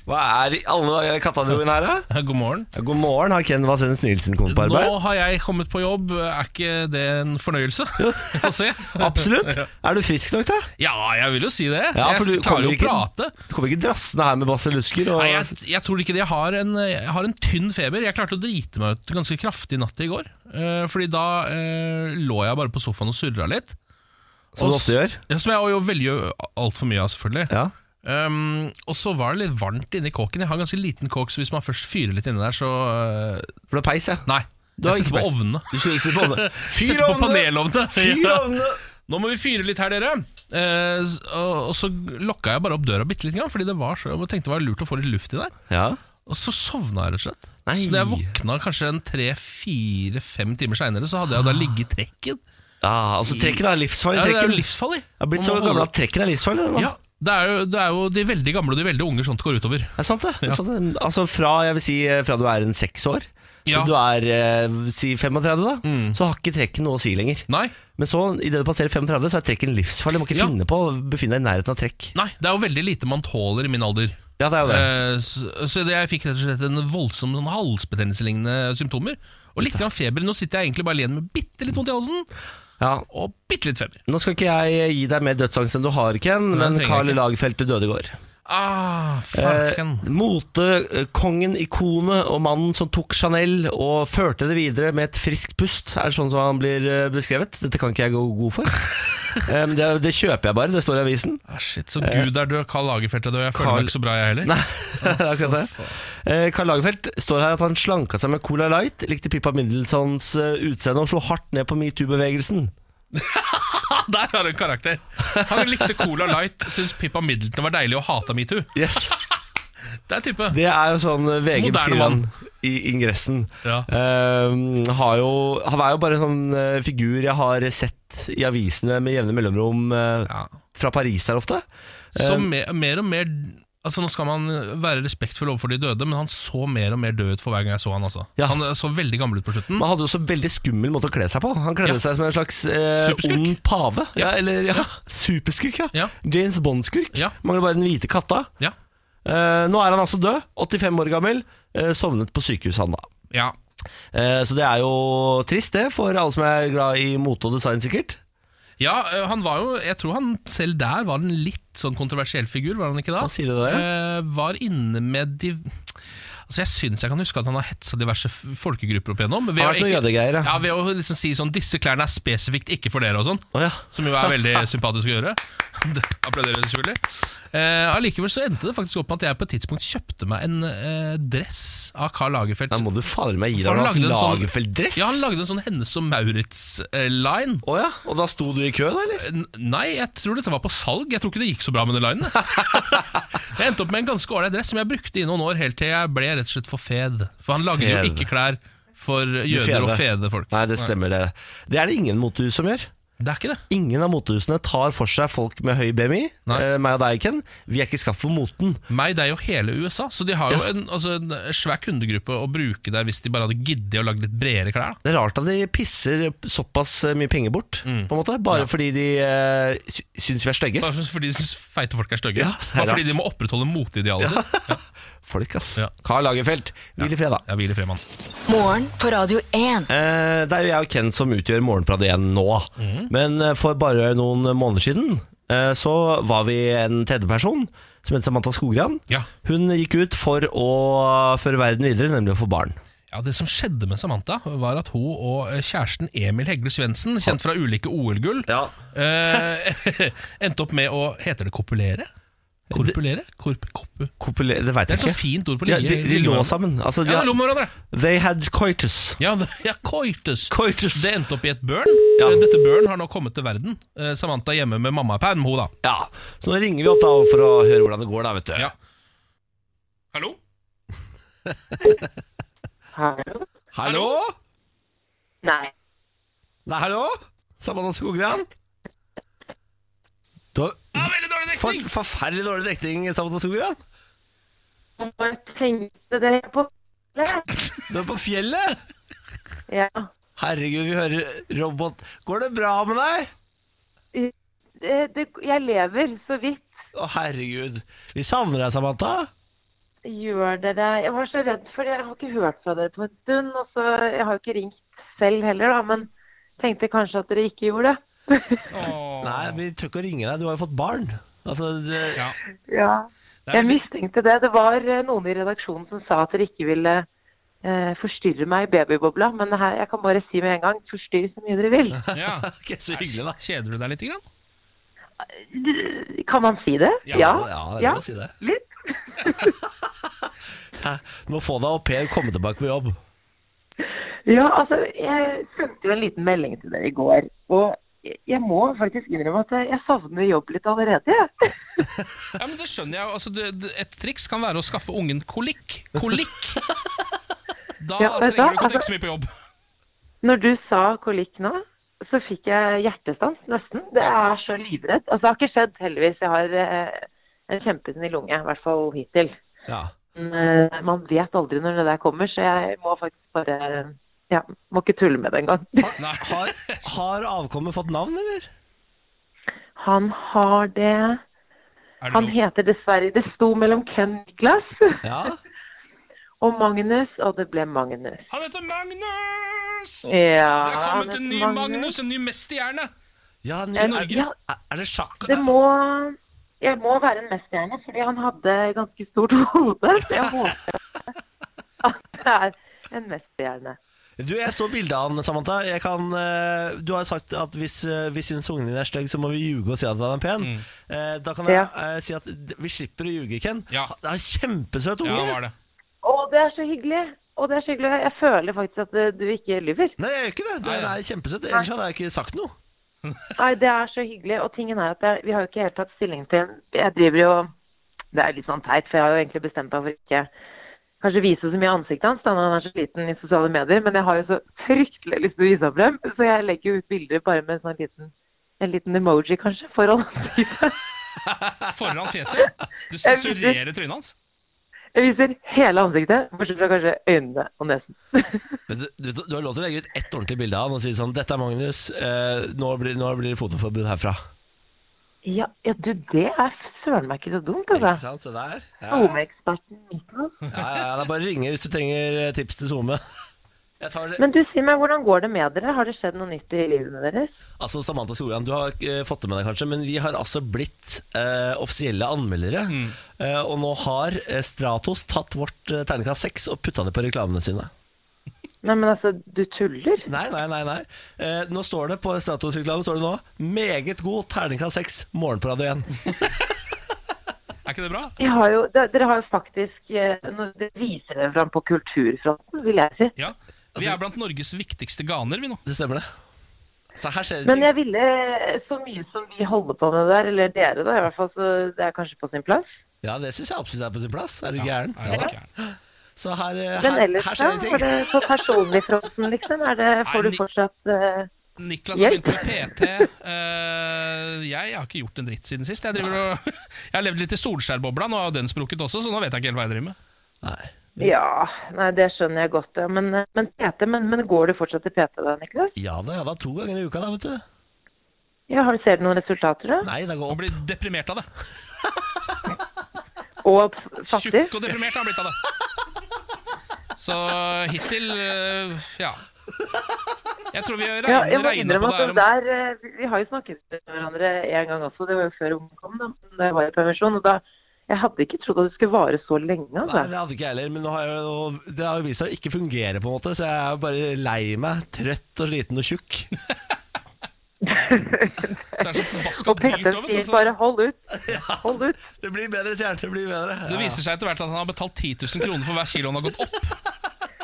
S1: hva er i alle dager kattadroen her, da?
S2: God morgen.
S1: Ja, god morgen, har Ken Vasenus Nielsen kommet på arbeid?
S2: Nå har jeg kommet på jobb. Er ikke det en fornøyelse å se?
S1: Absolutt.
S2: Ja.
S1: Er du frisk nok, da?
S2: Ja, jeg vil jo si det.
S1: Ja, for du
S2: jeg klarer
S1: kommer
S2: jo å
S1: ikke-
S2: prate.
S1: Du kommer ikke drassende her med basillusker? Og...
S2: Nei, jeg, jeg tror ikke det. Jeg har, en, jeg har en tynn feber. Jeg klarte å drite meg ut ganske kraftig natt til i går. Eh, fordi da eh, lå jeg bare på sofaen og surra litt.
S1: Som du
S2: Og s-
S1: ofte gjør?
S2: Ja, som jeg jo veldig gjør altfor mye av, selvfølgelig.
S1: Ja.
S2: Um, og så var det litt varmt inni kåken. Jeg har en ganske liten kåk, så hvis man først fyrer litt inni der, så eh,
S1: For det er peis, ja.
S2: Nei.
S1: Du har
S2: jeg setter
S1: ikke
S2: på
S1: peis.
S2: ovnene.
S1: Du kjører på ovnene. Fyr
S2: setter på
S1: ovnene!
S2: panelovnene.
S1: Fyr
S2: Ja.
S1: ovnene!
S2: Nå må vi fyre litt her, dere. Eh, s- og, og så lokka jeg bare opp døra bitte litt, fordi det var så, jeg tenkte det var lurt å få litt luft i der.
S1: Ja.
S2: Og så sovna jeg rett og slett.
S1: Nei.
S2: Så da jeg våkna kanskje en tre-fire-fem timer seinere, så hadde jeg da ligget i trekken.
S1: Ja, altså trekken er livsfarlig.
S2: Mm. Ja, det er
S1: Trekken
S2: jo livsfarlig.
S1: Jeg har blitt så
S2: Man må
S1: gammel
S2: holde-
S1: at trekken er livsfarlig. det nå.
S2: Ja, det er, jo, det er jo de veldig gamle og de veldig unge sånt går utover.
S1: Det er sant, det. det, er sant det. Altså fra, jeg vil si, fra du er en seks år til
S2: Ja. Mm.
S1: du er eh, si 35, da, så har ikke trekken noe å si lenger.
S2: Nei,
S1: Men så, idet du passerer 35, så er trekken livsfarlig. Du må ikke
S2: Ja.
S1: finne på å befinne deg i nærheten av trekk.
S2: nei, det er jo veldig lite man tåler i min alder.
S1: Ja, det er jo det.
S2: Eh, Så, så det, jeg fikk rett og slett en voldsom sånn halsbetennelselignende symptomer. Og litt grann feber. Nå sitter jeg egentlig bare igjen med bitte litt vondt i halsen,
S1: Ja.
S2: og bitte litt feber.
S1: Nå skal ikke jeg gi deg mer dødsangst enn du har, Ken, men
S2: trenger jeg
S1: Carl
S2: ikke.
S1: Lagerfeldt døde i går.
S2: Ah,
S1: Eh,
S2: farken.
S1: Motekongen, ikonet og mannen som tok Chanel og førte det videre med et friskt pust, er det sånn som han blir eh, beskrevet? Dette kan ikke jeg gå god for. Em, det, det kjøper jeg bare, det står i avisen.
S2: Ah, shit, så Gud er død, Carl Lagerfeldt er død. Jeg føler
S1: Carl-
S2: meg ikke så bra, jeg heller.
S1: Nei, det er akkurat det. Eh, Karl Lagerfeldt står her at han slanka seg med Cola Light, likte Pippa Middletons eh, utseende og slo hardt ned på metoo-bevegelsen.
S2: Der har du en karakter! Han likte Cola Light, syntes Pippa Middleton var deilig og hata metoo.
S1: Yes,
S2: Det er type.
S1: Det er jo sånn eh, VG
S2: Moderne
S1: beskriver han
S2: mann.
S1: i ingressen.
S2: Ja.
S1: Ehm, har jo, han er jo bare en sånn eh, figur jeg har sett i avisene med jevne mellomrom eh,
S2: Ja.
S1: fra Paris der ofte.
S2: Så
S1: Eh,
S2: mer, mer og mer Altså Nå skal man være respektfull overfor de døde, men han så mer og mer død ut for hver gang jeg så han. altså
S1: Ja.
S2: Han så veldig gammel ut på slutten.
S1: Man hadde jo så veldig skummel måte å kle seg på. Han kledde
S2: Ja.
S1: seg som en slags eh,
S2: Superskurk.
S1: ond pave. Ja. eller ja, superskurk. Ja.
S2: Ja.
S1: James Bond-skurk.
S2: Ja.
S1: Mangler bare den hvite katta.
S2: Ja.
S1: Eh, nå er han altså død, 85 år gammel. eh, sovnet på sykehus, han da.
S2: Ja.
S1: Eh, så det er jo trist, det, for alle som er glad i mote og design, sikkert.
S2: ja, øh, han var jo Jeg tror han selv der var en litt sånn kontroversiell figur, var han ikke da?
S1: Hva sier du det?
S2: Eh, var inne med de Altså Jeg syns jeg kan huske at han har hetsa diverse f- folkegrupper opp igjennom. Ved
S1: Har
S2: å
S1: vært noe
S2: ikke-
S1: jødegreier, ja.
S2: ja, ved å liksom si sånn 'Disse klærne er spesifikt ikke for dere', og sånn.
S1: Å ja.
S2: Som jo er veldig sympatisk å gjøre. Det Applauderer selvfølgelig. Eh, Allikevel så endte det faktisk opp med at jeg på et tidspunkt kjøpte meg en eh, dress av Carl Lagerfeldt.
S1: Da må du fader meg gi deg
S2: For han
S1: noe
S2: lagde en sånn-
S1: Lagerfeld-dress.
S2: Ja, Han lagde en sånn Hennes og eh, Maurits-line.
S1: Å ja, og da sto du i kø, da, eller?
S2: Nei, jeg tror dette var på salg. Jeg tror ikke det gikk så bra med den linen. jeg endte opp med en ganske ålreit dress som jeg brukte i noen år, helt til jeg ble rett og slett for fed. For han lagde jo
S1: Fed.
S2: ikke klær for jøder og
S1: fede.
S2: fede folk.
S1: Nei, det stemmer, det. Det er det ingen motehus som gjør.
S2: Det er ikke det.
S1: Ingen av motehusene tar for seg folk med høy BMI.
S2: Nei.
S1: Eh, meg og deg, Ken. Vi er ikke skapt for moten.
S2: Meg, deg og hele USA. Så de har jo en, altså, en svær kundegruppe å bruke der hvis de bare hadde giddet å lage litt bredere klær. Da.
S1: Det er rart at de pisser såpass eh, mye penger bort,
S2: Mm.
S1: på en måte. Bare fordi de eh, sy- syns vi er stygge.
S2: Bare fordi de synes feite folk er stygge.
S1: Ja, det er
S2: Bare fordi de må opprettholde motidealet sitt.
S1: folk, ass.
S2: Ja.
S1: Karl Lagerfeldt, hvil i fred, da.
S2: Jeg hviler frem, mann.
S4: Morgen på Radio 1.
S1: Eh, det er jo jeg og Ken som utgjør Morgenbladet igjen nå.
S2: Mhm.
S1: Men eh, for bare noen måneder siden eh, så var vi en tredjeperson som het Samantha Skogran.
S2: Ja.
S1: Hun gikk ut for å føre verden videre, nemlig å få barn.
S2: Ja, Det som skjedde med Samantha, var at hun og eh, kjæresten Emil Hegle Svendsen, kjent fra ulike OL-gull,
S1: Ja.
S2: eh, endte opp med å Heter det kopulere? Korpulere? Korp, korp.
S1: Kopule- det veit
S2: Det
S1: jeg
S2: er et så
S1: ikke.
S2: fint ord på
S1: Ja,
S2: linje.
S1: de, de lå sammen. Altså, de,
S2: Ja, de lå
S1: har-
S2: med hverandre.
S1: they had coitus.
S2: Ja, det- ja, coitus.
S1: Coitus.
S2: Det endte opp i et børn.
S1: Ja.
S2: Eh, Dette børn har nå kommet til verden. Eh, Samantha hjemme med mammaperm, hun da.
S1: Ja. Så nå ringer vi opp da for å høre hvordan det går, da, vet du.
S2: Ja. Hallo?
S6: Hallo?
S1: Hallo?
S6: Nei.
S1: Nei, hallo? Samantha Skogran? Du har
S2: Ja, veldig dårlig
S1: for,
S2: dekning!
S1: forferdelig dårlig dekning, Samantha Skogran.
S6: Hva tenkte dere på?
S1: Du er på fjellet!
S6: Ja.
S1: Herregud, vi hører robot. Går det bra med deg?
S6: Det, det, jeg lever så vidt.
S1: Å, herregud. Vi savner deg, Samantha.
S6: Gjør dere Jeg var så redd for det. Jeg har ikke hørt fra dere på en stund. Og så, jeg har jo ikke ringt selv heller, da, men tenkte kanskje at dere ikke gjorde det.
S2: Åh.
S1: Nei, vi tør ikke å ringe deg. Du har jo fått barn. Altså, det,
S2: Ja.
S6: ja.
S2: Det er
S6: Jeg
S2: veldig-
S6: mistenkte det. Det var eh, noen i redaksjonen som sa at dere ikke ville eh, forstyrre meg i babybobla, men her, jeg kan bare si med en gang forstyrr så mye dere vil.
S2: ja.
S1: Ok, så hyggelig, da.
S2: Kjeder du deg litt? Grann?
S6: Kan man si det?
S2: Ja,
S1: ja, det er lov å si det.
S6: Litt.
S1: Du må få deg au pair, komme tilbake på jobb.
S6: Ja, altså, jeg sendte jo en liten melding til dere i går, og jeg- jeg må faktisk innrømme at jeg- jeg savner jobb litt allerede. jeg.
S2: Ja, men det skjønner jeg. jo. Altså, det, det, et triks kan være å skaffe ungen kolikk. Kolikk! Da
S6: Ja, vet
S2: trenger du
S6: du
S2: ikke å
S6: hva?
S2: tenke så mye på jobb.
S1: Altså,
S6: Når du sa kolikk nå, så fikk jeg hjertestans, nesten. Det er så livredd. Altså, det har ikke skjedd, heldigvis. Jeg har eh, en kjempesnill lunge, i hvert fall hittil.
S1: Ja.
S6: Men eh, man vet aldri når det der kommer, så jeg må faktisk bare Ja, må ikke tulle med det engang.
S2: Nei.
S1: Har, har avkommet fått navn, eller?
S6: Han har det
S2: Er det
S6: Han
S2: lov?
S6: heter dessverre Det sto mellom Ken og Niklas.
S1: Ja.
S6: Og Magnus, og det ble Magnus.
S2: Han heter Magnus!
S6: Ja,
S2: Det er kommet
S6: vet
S2: en
S6: du,
S2: ny Magnus, en ny mesterhjerne.
S1: ja, ny,
S6: En-
S1: er,
S6: ja,
S1: er det sjakk?
S6: det må Jeg må være en mesterhjerne, fordi han hadde ganske stort hode. Så jeg håper at det er en mesterhjerne.
S1: Du, jeg så bildet av han, Samantha. Jeg kan, eh, du har sagt at hvis, eh, hvis synes ungen din er stygg, så må vi ljuge og si at han er pen. Eh, da kan jeg
S6: Ja.
S1: eh, si at d- vi slipper å ljuge, Ken.
S2: Ja.
S1: Han er en kjempesøt
S2: Ja,
S1: unge.
S2: han var det.
S6: Å, det er så hyggelig! Å, det er så hyggelig. Jeg føler faktisk at eh, du ikke lyver.
S1: Nei, jeg gjør ikke det. Du
S2: Nei,
S1: er
S2: ja.
S1: er kjempesøt. Ellers hadde jeg ikke sagt noe.
S6: Nei, det er så hyggelig. Og tingen er at jeg, vi har jo ikke helt tatt stilling til Jeg driver jo Det er litt sånn teit, for jeg har jo egentlig bestemt meg for ikke kanskje vise så mye ansiktet hans da når han er så liten i sosiale medier, men jeg har jo så fryktelig lyst til å vise ham frem, så jeg legger jo ut bilder bare med en sånn liten, en liten emoji, kanskje, foran ansiktet.
S2: Foran fjeset. Du sensurerer trynet hans.
S6: Jeg viser hele ansiktet, bortsett fra kanskje øynene og nesen.
S1: Men du, du, du har lov til å legge ut ett ordentlig bilde av han og si sånn Dette er Magnus. Eh, nå, blir, nå blir det fotoforbud herfra.
S6: Ja, ja du, det er søren meg ikke så dumt,
S1: Ikke
S6: altså.
S1: sant? Se der. Ja.
S6: SoMe-eksperten Mikkel.
S1: Ja, ja, ja, det er bare å ringe hvis du trenger eh, tips til SoMe. Jeg tar det.
S6: Men du, si meg, hvordan går det med dere? Har det skjedd noe nytt i livene deres?
S1: Altså, Samantha Skogran, du har ikke eh, fått det med deg kanskje, men vi har altså blitt eh, offisielle anmeldere.
S2: Mm.
S1: Eh, og nå har eh, Stratos tatt vårt eh, terningkast 6 og putta det på reklamene sine.
S6: Nei, men altså, du tuller?
S1: Nei, nei, nei. nei. Eh, nå står det på Stratos-reklamen står det nå 'Meget god terningkast 6, morgenparade igjen'.
S2: Er ikke det bra?
S6: Vi har jo, de- dere har jo faktisk eh, nå- Dere viser dere fram på kulturfronten, vil jeg si.
S2: Ja. Vi er blant Norges viktigste ganer, vi nå.
S1: Det stemmer, det. Så her skjer det
S6: Men
S1: ting.
S6: jeg ville eh, så mye som vi holder på med der, eller dere da, i hvert fall, så det er kanskje på sin plass.
S1: Ja, det syns jeg absolutt er på sin plass. Er du gæren?
S2: Er det ikke?
S1: Så her, eh,
S6: Men
S1: her,
S6: ellers,
S1: her
S6: da?
S1: skjer det
S6: for
S1: ting.
S6: det- På personligfronten, liksom? Er det, får
S2: Nei,
S6: du
S2: ni-
S6: fortsatt eh,
S2: Niklas har
S6: Hjelp.
S2: begynt med PT. Eh, jeg har ikke gjort en dritt siden sist. Jeg, driver og, jeg har levd litt i solskjærbobla, nå har den sprukket også, så nå vet jeg ikke helt hva jeg driver med.
S1: Nei.
S6: Ja, nei, det skjønner jeg godt. Ja. Men, eh, men PT, men, men går du fortsatt til PT da, Niklas?
S1: Ja da, ja da. To ganger i uka, da, vet du.
S6: Ja, har du Ser du noen resultater, da?
S1: Nei, det går
S2: Og
S1: opp.
S2: blir deprimert av det.
S6: og f- fattig.
S2: Tjukk og deprimert har han blitt av det. Så hittil eh, ja. Jeg tror vi
S6: Ja,
S2: regner,
S6: jeg må
S2: regner på
S6: innrømme at
S2: det her
S6: den
S2: om
S6: der, eh, vi- Vi har jo snakket med hverandre en gang også, det var jo før ungen kom, da, men da jeg var i permisjon. og da, Jeg hadde ikke trodd at det skulle vare så lenge.
S1: Nei,
S6: altså.
S1: det hadde ikke jeg heller, men nå har jeg, nå- det har jo vist seg å ikke fungere, på en måte, så jeg er bare lei meg, trøtt og sliten og tjukk.
S2: så er det så forbaska
S6: Og
S2: dyrt.
S6: PT
S2: også, vet du,
S6: sier
S2: så
S6: bare 'hold ut', hold ut.
S1: Det blir bedre, sier han. Det blir bedre.
S2: Det viser seg etter hvert at han har betalt 10 000 kroner for hver kilo han har gått opp.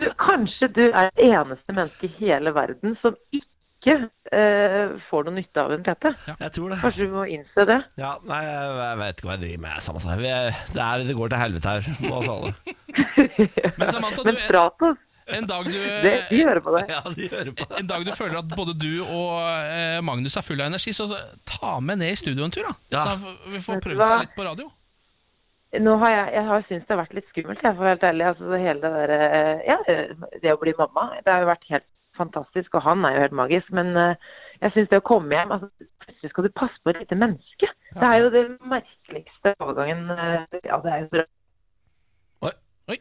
S6: Du, kanskje du er det eneste mennesket i hele verden som ikke eh, får noe nytte av en PT.
S1: Ja. Jeg tror det.
S6: Kanskje du må innse det.
S1: Ja, nei, jeg jeg vet ikke hva jeg driver med, samme sak. Vi- Det, er- det går til helvete her på oss alle.
S2: Men Samantha,
S6: Men
S2: du, Eh,
S6: Stratos,
S2: en, dag
S6: det,
S2: du,
S6: de hører på deg.
S1: Ja, de hører på.
S2: en dag du føler at både du og eh, Magnus er full av energi, så ta med ned i studio en tur, da.
S1: Ja.
S2: Så han- vi får
S6: Vet du
S2: prøvd seg
S6: hva?
S2: litt på radio.
S6: Nå har jeg, jeg har syntes det har vært litt skummelt, jeg, for å være helt ærlig. Altså, det hele det der, eh, ja, det å bli mamma, det har jo vært helt fantastisk, og han er jo helt magisk. Men eh, jeg syns det å komme hjem altså, Plutselig skal du passe på et lite menneske. Det er jo det merkeligste overgangen eh, Ja, det er jo bra.
S1: Oi.
S2: Oi.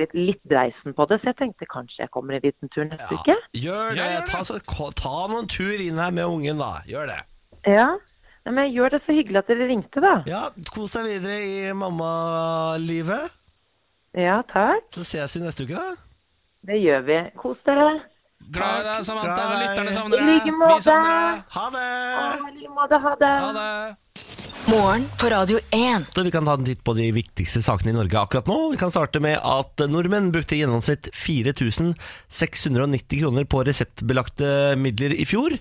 S6: Litt, litt dreisen på det, så jeg tenkte kanskje jeg kommer en liten tur neste
S1: Ja,
S6: uke.
S1: gjør
S2: Ja, gjør
S1: det. Ta, så, ko- ta noen tur inn her med ungen, da. Gjør det.
S6: Ja. Nei, men gjør det så hyggelig at dere ringte, da.
S1: Ja, Kos deg videre i mammalivet.
S6: Ja, takk.
S1: Så ses vi neste uke, da.
S6: Det gjør vi. Kos dere.
S2: Glad i deg, Samantha.
S1: Glad i deg.
S2: Lytterne savner
S6: I
S2: deg.
S6: like måte.
S2: Vi savner deg.
S1: Ha
S6: Å,
S1: det!
S6: i like måte. Ha det.
S2: Ha det.
S4: Morgen på Radio 1.
S1: og vi kan ta en titt på de viktigste sakene i Norge akkurat nå. Vi kan starte med at nordmenn brukte i gjennomsnitt 4690 kroner på reseptbelagte midler i fjor.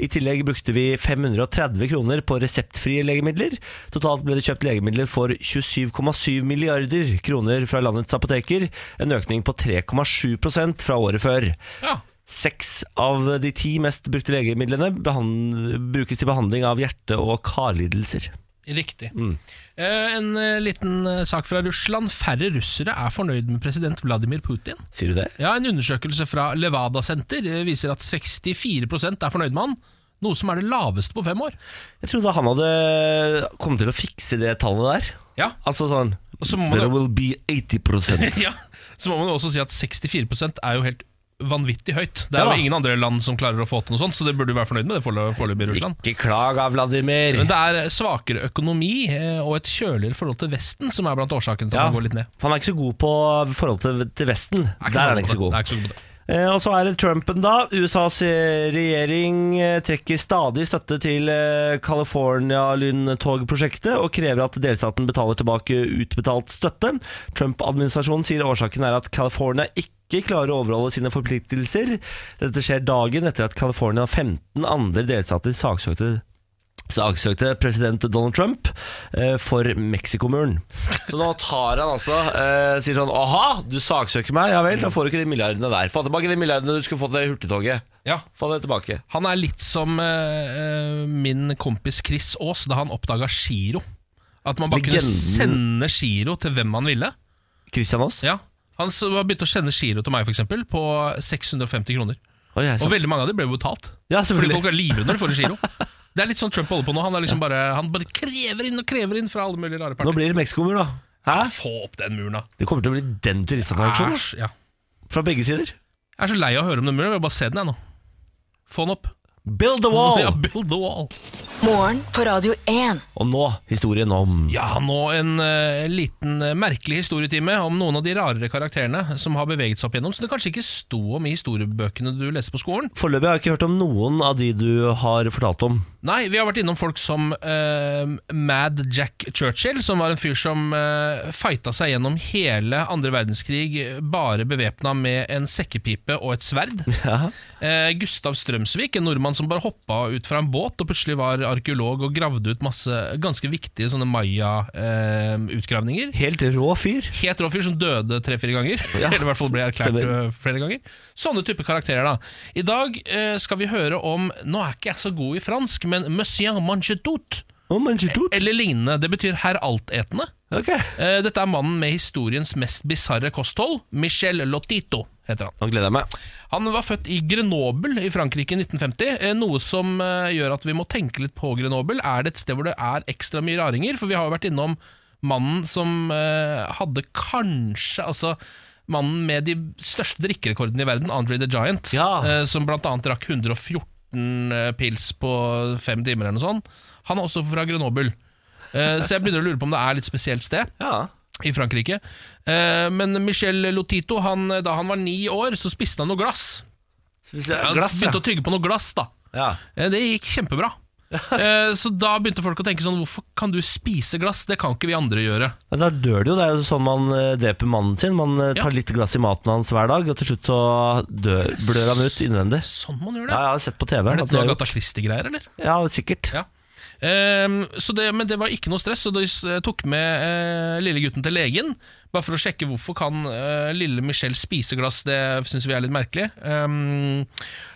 S1: I tillegg brukte vi 530 kroner på reseptfrie legemidler. Totalt ble det kjøpt legemidler for 27,7 milliarder kroner fra landets apoteker, en økning på 3,7 prosent fra året før.
S2: Ja.
S1: Seks av de ti mest brukte legemidlene behand- brukes til behandling av hjerte- og karlidelser.
S2: Riktig. Eh, en eh, liten eh, sak fra Russland. Færre russere er fornøyd med president Vladimir Putin.
S1: Sier du det?
S2: Ja, En undersøkelse fra Levada Senter eh, viser at 64 er fornøyd med han. Noe som er det laveste på fem år.
S1: Jeg trodde han hadde kommet til å fikse det tallet der.
S2: Ja,
S1: Altså sånn
S2: og så må
S1: There
S2: man,
S1: will be 80
S2: ja, så må man jo også si at 64 er jo helt vanvittig høyt. Det er
S1: Ja da.
S2: jo ingen andre land som klarer å få til noe sånt, så det burde du være fornøyd med det forelø- foreløpig i Russland.
S1: Ikke klag av Vladimir.
S2: Men det er eh, svakere økonomi eh, og et kjøligere forhold til Vesten som er blant årsakene til at
S1: Ja.
S2: han går litt ned.
S1: For han er ikke så god på forholdet til, til Vesten.
S2: Jeg
S1: Der er
S2: på
S1: han ikke
S2: det.
S1: så god.
S2: Jeg er ikke så god på det.
S1: Eh, og så er det Trumpen, da. USAs regjering eh, trekker stadig støtte til eh, California-lyntogprosjektet og krever at delstaten betaler tilbake utbetalt støtte. Trump-administrasjonen sier årsaken er at California ikke klarer å overholde sine forpliktelser. Dette skjer dagen etter at California og 15 andre delstater saksøkte saksøkte president Donald Trump eh, for Mexicomuren. Så nå tar han altså eh, sier sånn Aha, du saksøker meg. Ja vel, da får du ikke de milliardene der. Få tilbake de milliardene du skulle fått i hurtigtoget.
S2: Ja.
S1: Få det tilbake.
S2: Han er litt som eh, eh, min kompis Chris Aas da han oppdaga Giro. At man bare kunne
S1: Legenden.
S2: sende Giro til hvem man ville.
S1: Christian Aas.
S2: Ja. Han s- har begynt å sende Giro til meg, for eksempel, på 650 kroner.
S1: Oi, jeg
S2: Og
S1: sa-
S2: veldig mange av dem ble jo betalt.
S1: ja,
S2: Fordi
S1: selvfølgelig.
S2: folk er livredde når de får en Giro. Det er litt sånn Trump holder på nå. Han, er liksom bare, han bare krever inn og krever inn fra alle mulige
S1: Nå
S2: rare partier.
S1: blir det Mexicomur, da. Hæ?
S2: Få opp den muren, da.
S1: Det kommer til å bli den turistattraksjonen.
S2: Æsj, ja.
S1: Fra begge sider.
S2: Jeg er så lei av å høre om den muren. Jeg vil bare se den, jeg nå. Få den opp.
S1: Build the
S2: Ja,
S1: wall!
S2: build the wall.
S4: Morgen på Radio 1.
S1: Og nå historien om
S2: Ja, nå en eh, liten eh, merkelig historietime om noen av de rarere karakterene som har beveget seg opp igjennom, som det kanskje ikke sto om i historiebøkene du leste på skolen.
S1: Foreløpig har jeg ikke hørt om noen av de du har fortalt om.
S2: Nei, vi har vært innom folk som eh, Mad Jack Churchill, som var en fyr som eh, fighta seg gjennom hele andre verdenskrig eh, bare bevæpna med en sekkepipe og et sverd.
S1: Ja.
S2: Eh, Gustav Strømsvik, en nordmann som bare hoppa ut fra en båt og plutselig var arkeolog og gravde ut masse ganske viktige sånne eh, maya-utgravninger.
S1: Helt rå fyr.
S2: helt rå fyr som døde tre-fire ganger.
S1: Ja,
S2: Eller i hvert fall ble erklært
S1: stemmer.
S2: ø, flere ganger. Sånne type karakterer, da. I dag eh, skal vi høre om Nå er ikke jeg så god i fransk, men monsieur manchetout,
S1: Oh, men så tut.
S2: eller lignende. Det betyr herr altetende.
S1: Ok.
S2: Eh, dette er mannen med historiens mest bisarre kosthold. Michel Lotito heter han.
S1: Nå gleder jeg meg.
S2: Han var født i Grenoble i Frankrike i 1950, eh, noe som eh, gjør at vi må tenke litt på Grenoble. Er det et sted hvor det er ekstra mye raringer? For vi har jo vært innom mannen som eh, hadde kanskje Altså mannen med de største drikkerekordene i verden, Andre the Giant,
S1: Ja.
S2: eh, som blant annet rakk 114 eh, pils på fem timer eller noe sånt. Han er også fra Grenoble. Eh, Så jeg begynner å lure på om det er et litt spesielt sted
S1: Ja.
S2: i Frankrike. Eh, Men Michel Lotito, han, eh, da han var ni år, så spiste han noe glass.
S1: Så hvis jeg-
S2: Han
S1: Glass, ja.
S2: begynte å tygge på noe glass, da.
S1: ja.
S2: Eh, Det gikk kjempebra. Eh, Så da begynte folk å tenke sånn Hvorfor kan du spise glass? Det kan ikke vi andre gjøre.
S1: Men da dør det jo. Det er jo sånn man eh, dreper mannen sin. Man eh, tar
S2: Ja.
S1: litt glass i maten hans hver dag, og til slutt så dør, blør han ut innvendig.
S2: Sånn man
S1: Ja,
S2: gjør det.
S1: jeg har sett på TV.
S2: Er
S1: at
S2: dette
S1: det
S2: noe
S1: er
S2: Agatha Christie-greier, eller?
S1: gjort. Ja, sikkert.
S2: Ja. Ehm, så det, men det var ikke noe stress, så de s- tok med eh, lille gutten til legen. Bare for å sjekke hvorfor kan eh, lille Michelle spise glass. Det syns vi er litt merkelig. Ehm,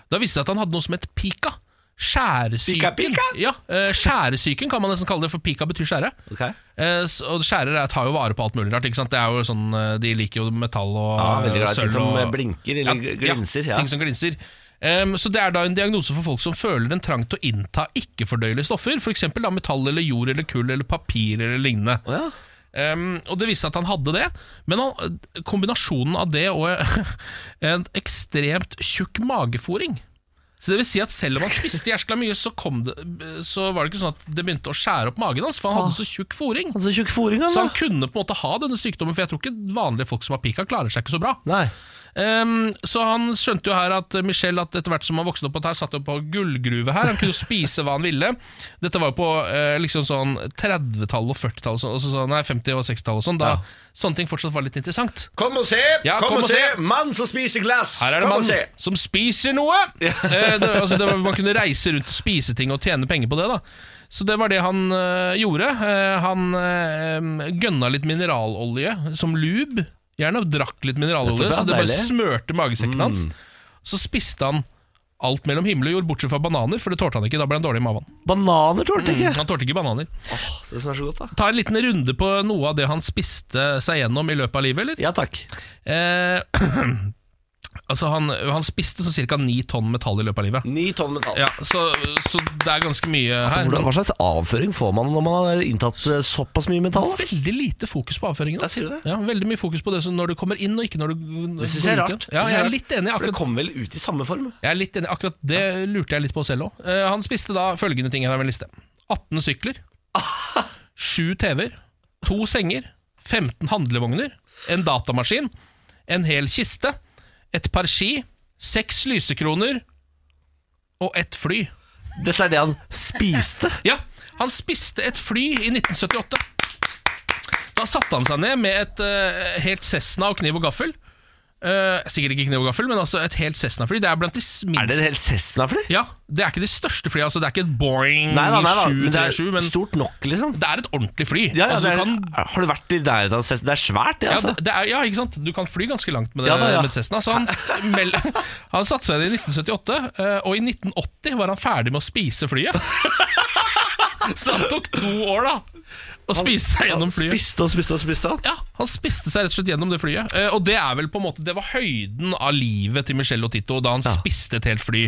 S2: da viste det seg at han hadde noe som het pika. Skjæresyken.
S1: Pika, pika?
S2: Ja, eh, skjæresyken kan man nesten kalle det, for pika betyr skjære.
S1: Ok.
S2: Eh, s- og skjærere tar jo vare på alt mulig rart. Ikke sant? Det er jo sånn, eh, de liker jo metall og
S1: Ja, veldig glad i ting
S2: sølv
S1: som eh,
S2: og-
S1: blinker eller glinser. Ja.
S2: ting som glinser. Ehm, så Det er da en diagnose for folk som føler en trang til å innta ikke-fordøyelige stoffer, f.eks. metall eller jord eller kull eller papir eller lignende.
S1: Å, ja.
S2: Ehm, og Det viste seg at han hadde det, men han, kombinasjonen av det og en ekstremt tjukk magefòring så det vil si at Selv om han spiste jæskla mye, så, kom det, så var det ikke sånn at det begynte å skjære opp magen hans. For han hadde så tjukk fòring.
S1: Han er så tjukk fòring,
S2: Så
S1: han,
S2: han kunne på en måte ha denne sykdommen, for jeg tror ikke vanlige folk som har pika, klarer seg ikke så bra.
S1: da. Nei.
S2: Ehm, så han skjønte jo her at eh, Michelle at etter hvert som han vokste opp at her satt jo på gullgruve her. Han kunne jo spise hva han ville. Dette var jo på eh, liksom sånn 30-tallet og 40-tallet, og sånn- altså sånn, nei 50- og 60-tallet og sånn. Da sånne ting fortsatt var litt interessant.
S1: Kom og se!
S2: Ja, kom kom og og se! se!
S1: Mann som spiser glass!
S2: Her er det mann som spiser noe! Eh, det, altså det var, man kunne reise rundt og spise ting og tjene penger på det. da Så det var det han eh, gjorde. Eh, han eh, gønna litt mineralolje som lube. Gjerne drakk litt mineralolje,
S1: Dette var
S2: så det bare
S1: deilig. Mm.
S2: smørte magesekken hans. Så spiste han alt mellom himmel og jord, bortsett fra bananer, for det tålte han ikke. Da ble han dårlig i magen.
S1: Bananer tålte ikke.
S2: Han tålte ikke bananer.
S1: Åh, det som er så godt, da.
S2: Ta en liten runde på noe av det han spiste seg gjennom i løpet av livet, eller?
S1: Ja takk.
S2: Eh, altså han, han spiste sånn ca. ni tonn metall i løpet av livet.
S1: Ni tonn metall.
S2: Ja, så, så det er ganske mye
S1: Altså,
S2: her.
S1: hvordan, hva slags avføring får man når man har inntatt eh, såpass mye metall? da?
S2: Veldig lite fokus på avføringen. altså.
S1: Ja, sier du det?
S2: Ja, veldig mye fokus på det som når du kommer inn, og ikke når du
S1: Det synes jeg er
S2: går ut
S1: rart. Det
S2: igjen. Ja,
S1: synes
S2: jeg
S1: jeg er
S2: er litt
S1: For
S2: enig. i
S1: det
S2: Akkurat,
S1: kommer vel ut i samme form?
S2: jeg er litt enig, akkurat det lurte jeg litt på selv òg. han spiste da følgende ting her er min liste. 18 sykler. 7 TV-er. 2 senger. 15 handlevogner. En datamaskin. En hel kiste. Et par ski. 6 lysekroner. Og ett fly.
S1: Dette er det han spiste.
S2: Ja, han spiste et fly i 1978. Da satte han seg ned med et eh, helt Cessna og kniv og gaffel. Eh, sikkert ikke kniv og gaffel, men altså et helt Cessna-fly. Det er blant de minste
S1: Er det et helt Cessna-fly?
S2: Ja, det er ikke de største flyene. Altså, det er ikke et Boeing
S1: Nei, nei, nei, nei, men det
S2: 737,
S1: er
S2: men
S1: stort nok, liksom.
S2: det er et ordentlig fly.
S1: Ja, ja,
S2: altså,
S1: det
S2: du
S1: er,
S2: kan
S1: Har du vært i nærheten av Cessna? Det er svært, det,
S2: ja,
S1: altså.
S2: det, det er, ja, ikke sant? Du kan fly ganske langt med, det,
S1: Ja, da, ja.
S2: med Cessna. Så han, mel- han satte seg ned i 1978, eh, og i 1980 var han ferdig med å spise flyet. Så han tok to år da å spise seg
S1: Han
S2: gjennom flyet.
S1: spiste og spiste og spiste. han.
S2: Ja, Han spiste seg rett og slett gjennom det flyet. Eh, Og det er vel på en måte Det var høyden av livet til Michel Otito da han spiste et helt fly.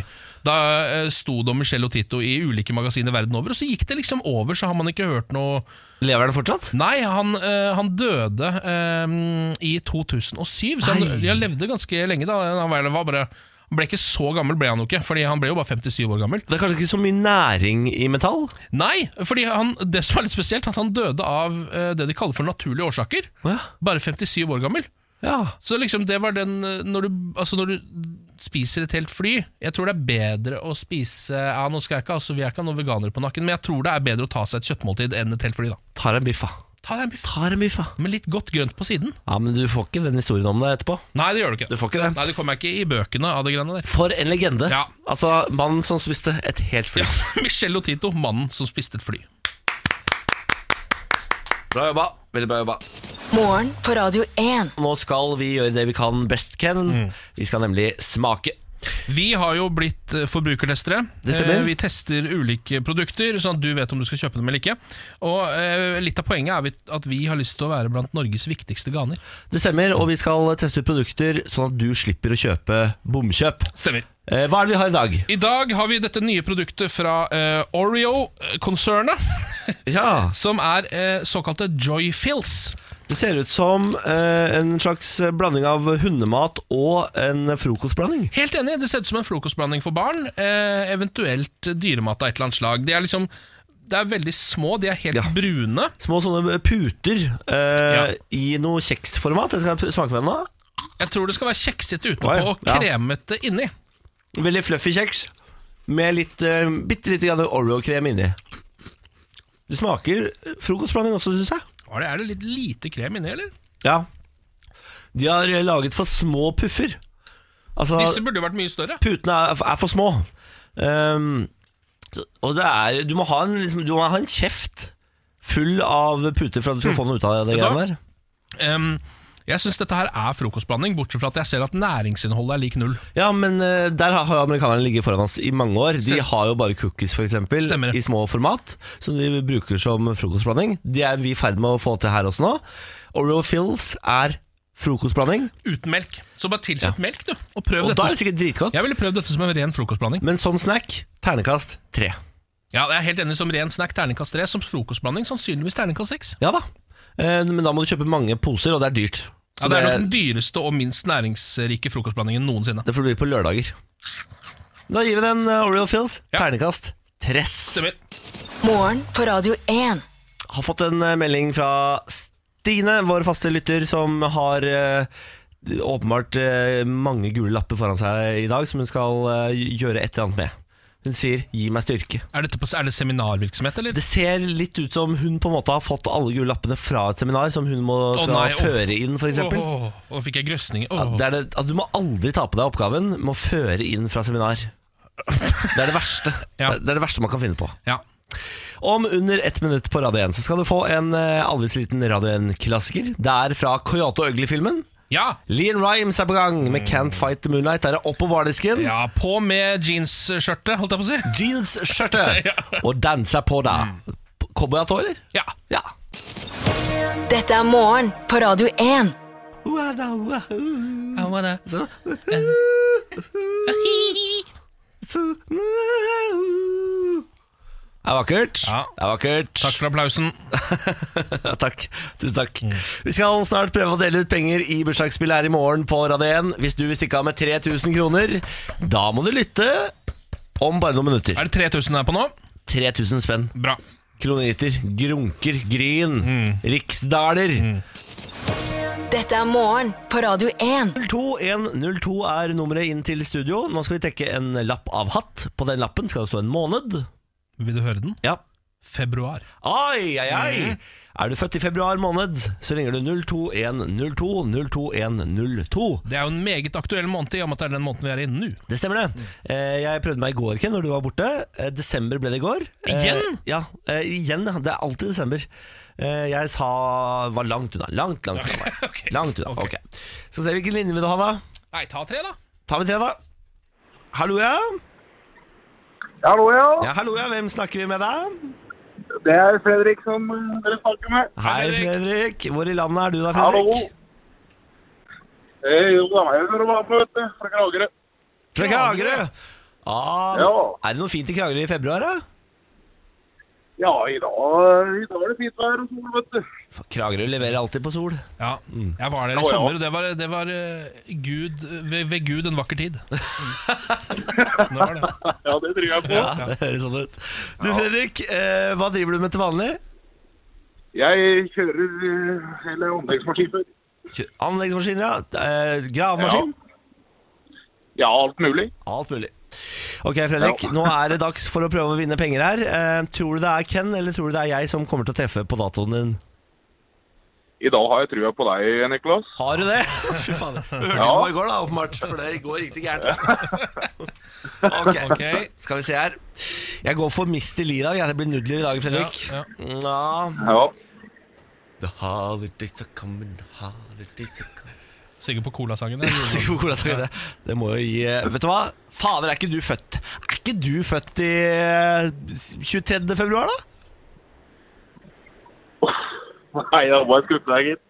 S2: Da eh, sto det om Michel Otito i ulike magasiner verden over, og så gikk det liksom over, så har man ikke hørt noe
S1: Lever den fortsatt?
S2: Nei, han, eh, han døde eh, i 2007, så han,
S1: Nei.
S2: han levde ganske lenge da. Han var- var bare, han ble ikke så gammel, ble han jo ikke, Fordi han ble jo bare 57 år gammel.
S1: Det er kanskje ikke så mye næring i metall?
S2: Nei, fordi han, det som er litt spesielt, at han døde av eh, det de kaller for naturlige årsaker.
S1: Å, ja.
S2: Bare 57 år gammel.
S1: Ja.
S2: Så liksom det var den eh, når du, altså når du spiser et helt fly Jeg tror det er bedre å spise Ja, nå skal jeg ikke, altså vi er ikke noen veganere på nakken, men jeg tror det er bedre å ta seg et kjøttmåltid enn et helt fly, da.
S1: Tar en biff, da.
S2: Ta deg en biff
S1: Tar en biff, da.
S2: med litt godt grønt på siden.
S1: Ja, men du får ikke den historien om deg etterpå.
S2: Nei, det gjør du ikke.
S1: Du får ikke det.
S2: Nei, det kommer jeg ikke i bøkene av det greiene der.
S1: For en legende.
S2: Ja.
S1: Altså, mannen som spiste et helt fly.
S2: Ja, Michel Otito, mannen som spiste et fly.
S1: Bra jobba. Veldig bra jobba.
S4: Morgen på Radio 1.
S1: Nå skal vi gjøre det vi kan best, Ken. Vi skal nemlig smake.
S2: Vi har jo blitt eh, forbrukertestere.
S1: Det stemmer.
S2: Eh, Vi tester ulike produkter, sånn at du vet om du skal kjøpe dem eller ikke. Og eh, litt av poenget er vi- at vi har lyst til å være blant Norges viktigste ganer.
S1: Det stemmer, og vi skal teste ut produkter sånn at du slipper å kjøpe bomkjøp.
S2: Stemmer.
S1: Eh, hva er det vi har i dag?
S2: I dag har vi dette nye produktet fra eh, Oreo-konsernet.
S1: Ja,
S2: eh, Som er eh, såkalte joy fills.
S1: Det ser ut som eh, en slags blanding av hundemat og en frokostblanding.
S2: Helt enig, det ser ut som en frokostblanding for barn. Eh, eventuelt dyremat av et eller annet slag. De er liksom det er veldig små, de er helt
S1: Ja.
S2: brune.
S1: Små sånne puter eh,
S2: Ja.
S1: i noe kjeksformat. Jeg skal smake på den nå.
S2: Jeg tror det skal være kjeksete
S1: Oi,
S2: utenpå og
S1: ja.
S2: kremete inni.
S1: Veldig fluffy kjeks med litt, eh, bitte lite grann Oreo-krem inni. Det smaker frokostblanding også, syns jeg.
S2: Var det, er det litt lite krem inni, eller?
S1: Ja. De har eh, laget for små puffer. Altså,
S2: Disse burde jo vært mye større.
S1: putene er, er for små. Ehm, så- og det er Du må ha en, liksom, du må ha en kjeft full av puter for at du skal få noe ut av det
S2: Mm. Vet du
S1: greiene der.
S2: Em, jeg syns dette her er frokostblanding, bortsett fra at jeg ser at næringsinnholdet er lik null.
S1: Ja, men eh, der har- har amerikanerne ligget foran oss i mange år. De
S2: Stem-
S1: har jo bare cookies, f.eks.,
S2: Stemmer det.
S1: i små format, som de bruker som frokostblanding. Det er vi i ferd med å få til her også nå. Oreo Fills er frokostblanding,
S2: Uten melk. Så bare tilsett melk, du. Og prøv
S1: og da er det
S2: dette.
S1: sikkert dritgodt.
S2: Jeg ville prøvd dette som en ren frokostblanding.
S1: Men som snack, ternekast tre.
S2: Ja, Jeg er helt enig som ren snack terningkast 3, som frokostblanding sannsynligvis terningkast 6.
S1: Ja da. Eh, Men da må du kjøpe mange poser, og det er dyrt. Så
S2: Ja, det er nok
S1: det,
S2: den dyreste og minst næringsrike frokostblandingen noensinne.
S1: det får bli på lørdager. Da gir vi den eh, Oreo Fills
S2: Ja.
S1: ternekast tress.
S2: Stemmer.
S4: Morgen på Radio 1.
S1: Har fått en eh, melding fra Stine, vår faste lytter, som har eh, åpenbart eh, mange gule lapper foran seg i dag, som hun skal eh, gjøre et eller annet med. Hun sier 'gi meg styrke'.
S2: Er, dette på, er det seminarvirksomhet, eller?
S1: Det ser litt ut som hun på en måte har fått alle gule lappene fra et seminar som hun må skal
S2: nei, åh.
S1: føre inn, f.eks.
S2: Åh, åh, nå fikk jeg grøsninger.
S1: Ja,
S2: Åh.
S1: det er det, at du må aldri ta på deg oppgaven med å føre inn fra seminar. Det er det verste.
S2: Ja.
S1: Det er- det er det verste man kan finne på.
S2: ja.
S1: Om under ett minutt på Radio 1 så skal du få en eh, aldri så liten Radio 1-klassiker. Det er fra Coyote og Øgli-filmen.
S2: ja.
S1: Lean Rhymes er på gang med Can't Fight the Moonlight. Der er opp på bardisken.
S2: Ja, på med jeansskjørtet, holdt jeg på å si.
S1: Jeansskjørtet
S2: Ja.
S1: og danser på deg. Cowboyhatt òg, eller?
S2: Ja.
S1: Ja.
S4: Dette er morgen på Radio 1.
S1: Så- Det er vakkert.
S2: Ja.
S1: Det er vakkert.
S2: Takk for Mm. applausen.
S1: Ja, takk. Tusen takk. Vi skal snart prøve å dele ut penger i bursdagsspillet her i morgen på Radio 1. Hvis du vil stikke av med 3000 kroner, da må du lytte om bare noen minutter.
S2: Er det 3000 her på nå?
S1: 3000 spenn.
S2: Bra.
S1: Kroniter, grunker, gryn,
S2: Mm.
S1: riksdaler.
S4: Dette er morgen på Radio 1.
S1: 02102 er nummeret inn til studio. Nå skal vi trekke en lapp av hatt. På den lappen skal det stå en måned.
S2: Vil du høre den?
S1: Ja.
S2: Februar.
S1: Ai, ai, ai.
S2: Mm.
S1: Er du født i februar måned, så ringer du 02102 02102.
S2: Det er jo en meget aktuell måned, i og med at det er den måneden vi er i nå.
S1: Det stemmer det.
S2: Mm.
S1: Eh, Jeg prøvde meg i går, Ken, når du var borte. Eh, Desember ble det i går. Eh,
S2: Igjen?
S1: Ja, eh, igjen. ja. Det er alltid desember. Eh, Jeg sa var langt unna. Langt, langt unna.
S2: Ok.
S1: Langt unna.
S2: Ok.
S1: Ok. Så ser vi hvilken linje vil du ha, da.
S2: Nei, ta tre, da.
S1: Tar vi tre, da? Hallo, ja.
S7: Hallo, ja.
S1: ja. Hallo, ja. Hvem snakker vi med, da?
S7: Det er Fredrik som eh, dere snakker med.
S1: Hei, Fredrik. Hvor i landet er du da, Fredrik?
S7: Hallo. Hei, Eh, jo da, jeg hører hva på, vet du. Fra Kragerø.
S1: Fra Kragerø. Ah,
S7: Ja.
S1: Er det noe fint i Kragerø i februar, da?
S7: Ja, i dag, i dag er det fint vær og sol, vet du.
S1: Kragerø leverer alltid på sol.
S2: Ja,
S1: Mm.
S2: Jeg var der i
S7: ja.
S2: sommer, og det var, det var eh, Gud, ved, ved Gud en vakker tid. Det var det.
S7: Ja, det tror jeg på.
S1: Ja, det høres sånn ut. Du, Fredrik, eh, hva driver du med til vanlig?
S7: Jeg kjører eh, hele anleggsmaskiner.
S1: Kjø- Anleggsmaskiner, ja. Eh, gravemaskin.
S7: Ja, alt mulig.
S1: Alt mulig. Ok, Fredrik.
S7: Ja.
S1: Nå er det dags for å prøve å vinne penger her. Eh, tror du det er Ken eller tror du det er jeg som kommer til å treffe på datoen din?
S7: I dag har jeg trua på deg, Niklas.
S1: Har du det? Fy fader. Du hørte jo
S7: Ja.
S1: hva i går, da, åpenbart. For det i går gikk det gærent. Altså. Ok,
S2: Ok.
S1: skal vi se her. Jeg går for Mr. Lee i dag. jeg. Det blir nudler i dag, Fredrik.
S2: Ja,
S1: Nja.
S7: Ja.
S1: The holidays are coming, the holidays are coming.
S2: Sikkert på colasangen. jeg.
S1: Så god hvordan skal jeg det? Det må jo gi Vet du hva? Fader, er ikke du født Er ikke du født i eh, 23. februar, da?
S7: Nei, jeg var skuffet deg, gitt.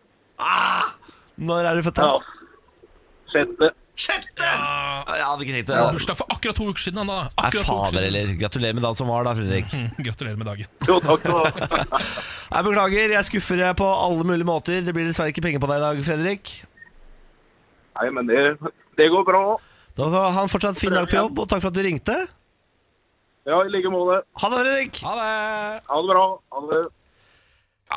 S1: Ah! Når er du født,
S7: Ja.
S1: da?
S7: Sjette.
S1: Kjøttet! Ja, jeg hadde ikke tenkt det.
S2: Det var bursdag for akkurat to uker siden. Anna.
S1: Nei,
S2: Akkurat to uker
S1: fader
S2: siden. Mm,
S1: heller. Gratulerer Mm. med dagen som var, da, Fredrik.
S2: Gratulerer med dagen.
S7: Jo, takk skal du ha.
S1: Jeg beklager, jeg skuffer deg på alle mulige måter. Det blir dessverre ikke penger på deg i dag, Fredrik.
S7: Nei, men det, det går bra.
S1: Da får han fortsatt fin dag på jobb, og takk for at du ringte.
S7: Ja, i like måte.
S1: Ha det, Fredrik!
S2: Ha det!
S7: Ha det bra. Ha det.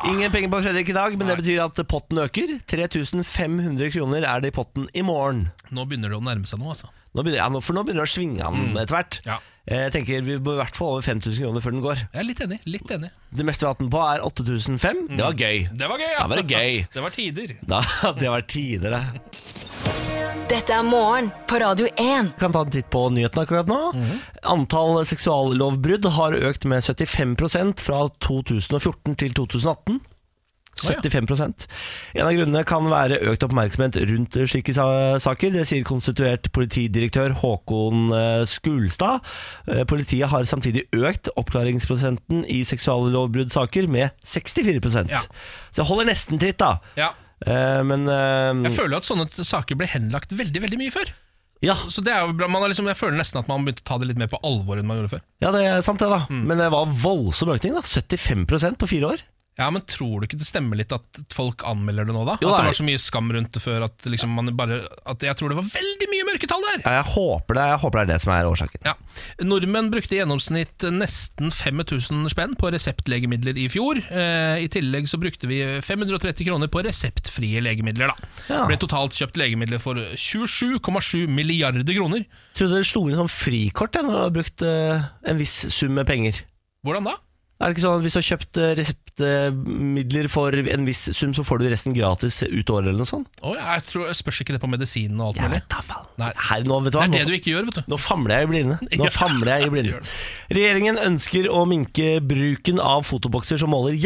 S1: Ingen penger på Fredrik i dag, men det betyr at potten øker. 3500 kroner er det i potten i morgen.
S2: Nå begynner det å nærme seg noe, altså.
S1: Nå begynner, ja, nå- for nå begynner det å svinge han etter hvert.
S2: Ja.
S1: Eh, Jeg tenker Vi bør i hvert fall over 5000 kroner før den går.
S2: Jeg er litt enig. litt enig
S1: Det meste vi har hatt den på, er 8500. Det var gøy.
S2: Det var gøy, ja!
S1: Da var det gøy.
S2: Det var tider.
S1: Da, det var tider, det.
S4: Dette er morgen på Radio 1.
S1: Vi kan ta en titt på nyheten akkurat nå.
S2: Mhm.
S1: Antall seksuallovbrudd har økt med 75 fra 2014 til 2018. 75 En av grunnene kan være økt oppmerksomhet rundt slike sa- saker. Det sier konstituert politidirektør Håkon eh, Skulstad. Eh, Politiet har samtidig økt oppklaringsprosenten i seksuallovbruddsaker med 64
S2: Ja.
S1: Så det holder nesten tritt, da.
S2: Ja.
S1: Eh, Men eh,
S2: Jeg føler at sånne t- saker ble henlagt veldig veldig mye før.
S1: ja.
S2: Så det er jo bra, man har liksom, Jeg føler nesten at man begynte å ta det litt mer på alvor enn man gjorde før.
S1: Ja, det er sant det da Men det var voldsom økning da 75% på fire år
S2: Ja, men Tror du ikke det stemmer litt at folk anmelder det nå, da?
S1: Jo,
S2: at det
S1: nei.
S2: var så mye skam rundt det før at liksom man bare At jeg tror det var veldig mye mørketall der!
S1: ja, jeg, håper det, jeg håper det er det som er årsaken
S2: Ja. Nordmenn brukte i gjennomsnitt nesten 5000 spenn på reseptlegemidler i fjor. Eh, I tillegg så brukte vi 530 kroner på reseptfrie legemidler. Da.
S1: Ja.
S2: Ble totalt kjøpt legemidler for 27,7 milliarder kroner.
S1: Trodde det slo inn som frikort jeg, Når du har brukt eh, en viss sum med penger
S2: Hvordan da?
S1: Er det ikke sånn at hvis du har kjøpt eh, reseptmidler For en viss sum så får du resten gratis ut året eller noe sånt
S2: Å, jeg tror, jeg spørs ikke det på medisinen og alt
S1: Jeg
S2: mulig.
S1: vet da faen
S2: Nei.
S1: Her nå vet du
S2: Det
S1: hva
S2: er
S1: nå-
S2: det du ikke gjør, vet du.
S1: Nå famler jeg i blinde. Nå
S2: Ja.
S1: famler jeg i blinde. Regjeringen ønsker å minke bruken av fotobokser som måler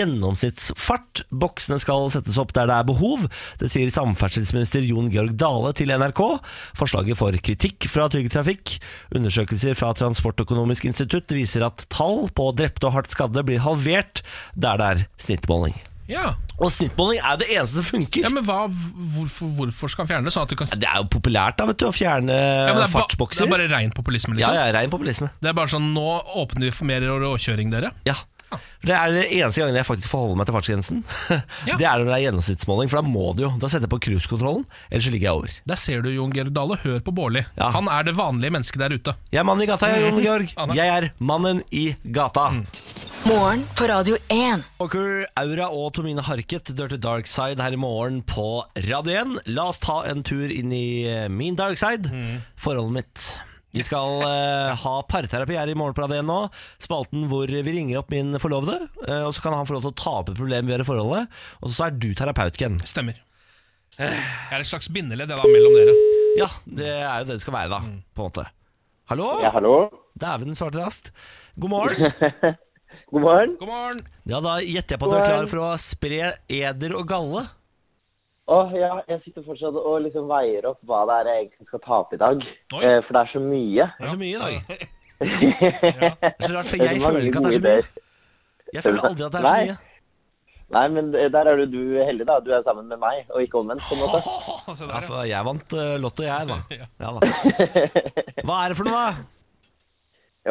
S1: gjennomsnittsfart. Boksene skal settes opp der det er behov. Det sier samferdselsminister Jon Georg Dale til NRK. Forslaget får kritikk fra Trygg Trafikk. Undersøkelser fra Transportøkonomisk institutt viser at tall på drepte og hardt skadde blir halvert der det er snittmåling.
S2: Ja,
S1: Og snittmåling er det eneste som funker.
S2: ja Men hva, hvorfor, hvorfor skal han fjerne det? Sånn at du kan
S1: Det er jo populært da, vet du, å fjerne
S2: ja, men det, er ba, det
S1: fartsbokser.
S2: er bare rein populisme,
S1: Ja,
S2: liksom.
S1: ja, rein populisme.
S2: Det er bare sånn Nå åpner vi for mer råkjøring, dere.
S1: Ja. For Det er det eneste gangen jeg faktisk forholder meg til fartsgrensen.
S2: Ja.
S1: Det er når det er gjennomsnittsmåling, for da må du jo. Da setter jeg på cruisekontrollen, ellers så ligger jeg over.
S2: Der ser du Jon Georg Dale. Hør på Bårli.
S1: Ja.
S2: Han er det vanlige mennesket der ute.
S1: Jeg er mannen i gata, jeg, Jon Georg.
S2: Anna.
S1: Jeg er mannen i gata.
S4: Morgen på Radio 1.
S1: Walker, Aura og Tomine Harket, Dirty Dark Side her i morgen på Radio 1. La oss ta en tur inn i eh, min dark side, forholdet mitt. Vi skal eh, ha parterapi her i morgen på Radio 1 nå. Spalten hvor vi ringer opp min forlovede, eh, og så kan han få lov til å ta opp et problem vi har i forholdet. Og så er du terapeut, Ken.
S2: Stemmer.
S1: Eh.
S2: Jeg er et slags bindeledd jeg, da, mellom dere.
S1: Ja, det er jo det det skal være, da.
S2: Mm.
S1: På en måte. Hallo?
S8: Ja, hallo.
S1: Dæven svarte rast. God morgen.
S8: God morgen.
S2: God morgen!
S1: Ja, da gjetter jeg på at du er klar for å spre eder og galle.
S8: Åh, ja, jeg sitter fortsatt og liksom veier opp hva det er jeg egentlig skal ta opp i dag.
S2: Oi.
S8: Eh, for det er så mye.
S1: Det er så mye i dag.
S8: det
S1: Det er så rart, for
S8: er
S1: jeg
S8: så
S1: føler
S8: mange
S1: ikke at det er
S8: gode
S1: så mye.
S8: ideer.
S1: Jeg føler aldri at det er så
S8: Nei.
S1: mye.
S8: Nei, men eh, der er jo du heldig, da. Du er sammen med meg, og ikke omvendt, på en måte.
S2: Åh, se
S1: Ja,
S2: der, ja.
S1: for jeg vant eh, Lotto, jeg, da. Ja, da. Hva er det for noe, da?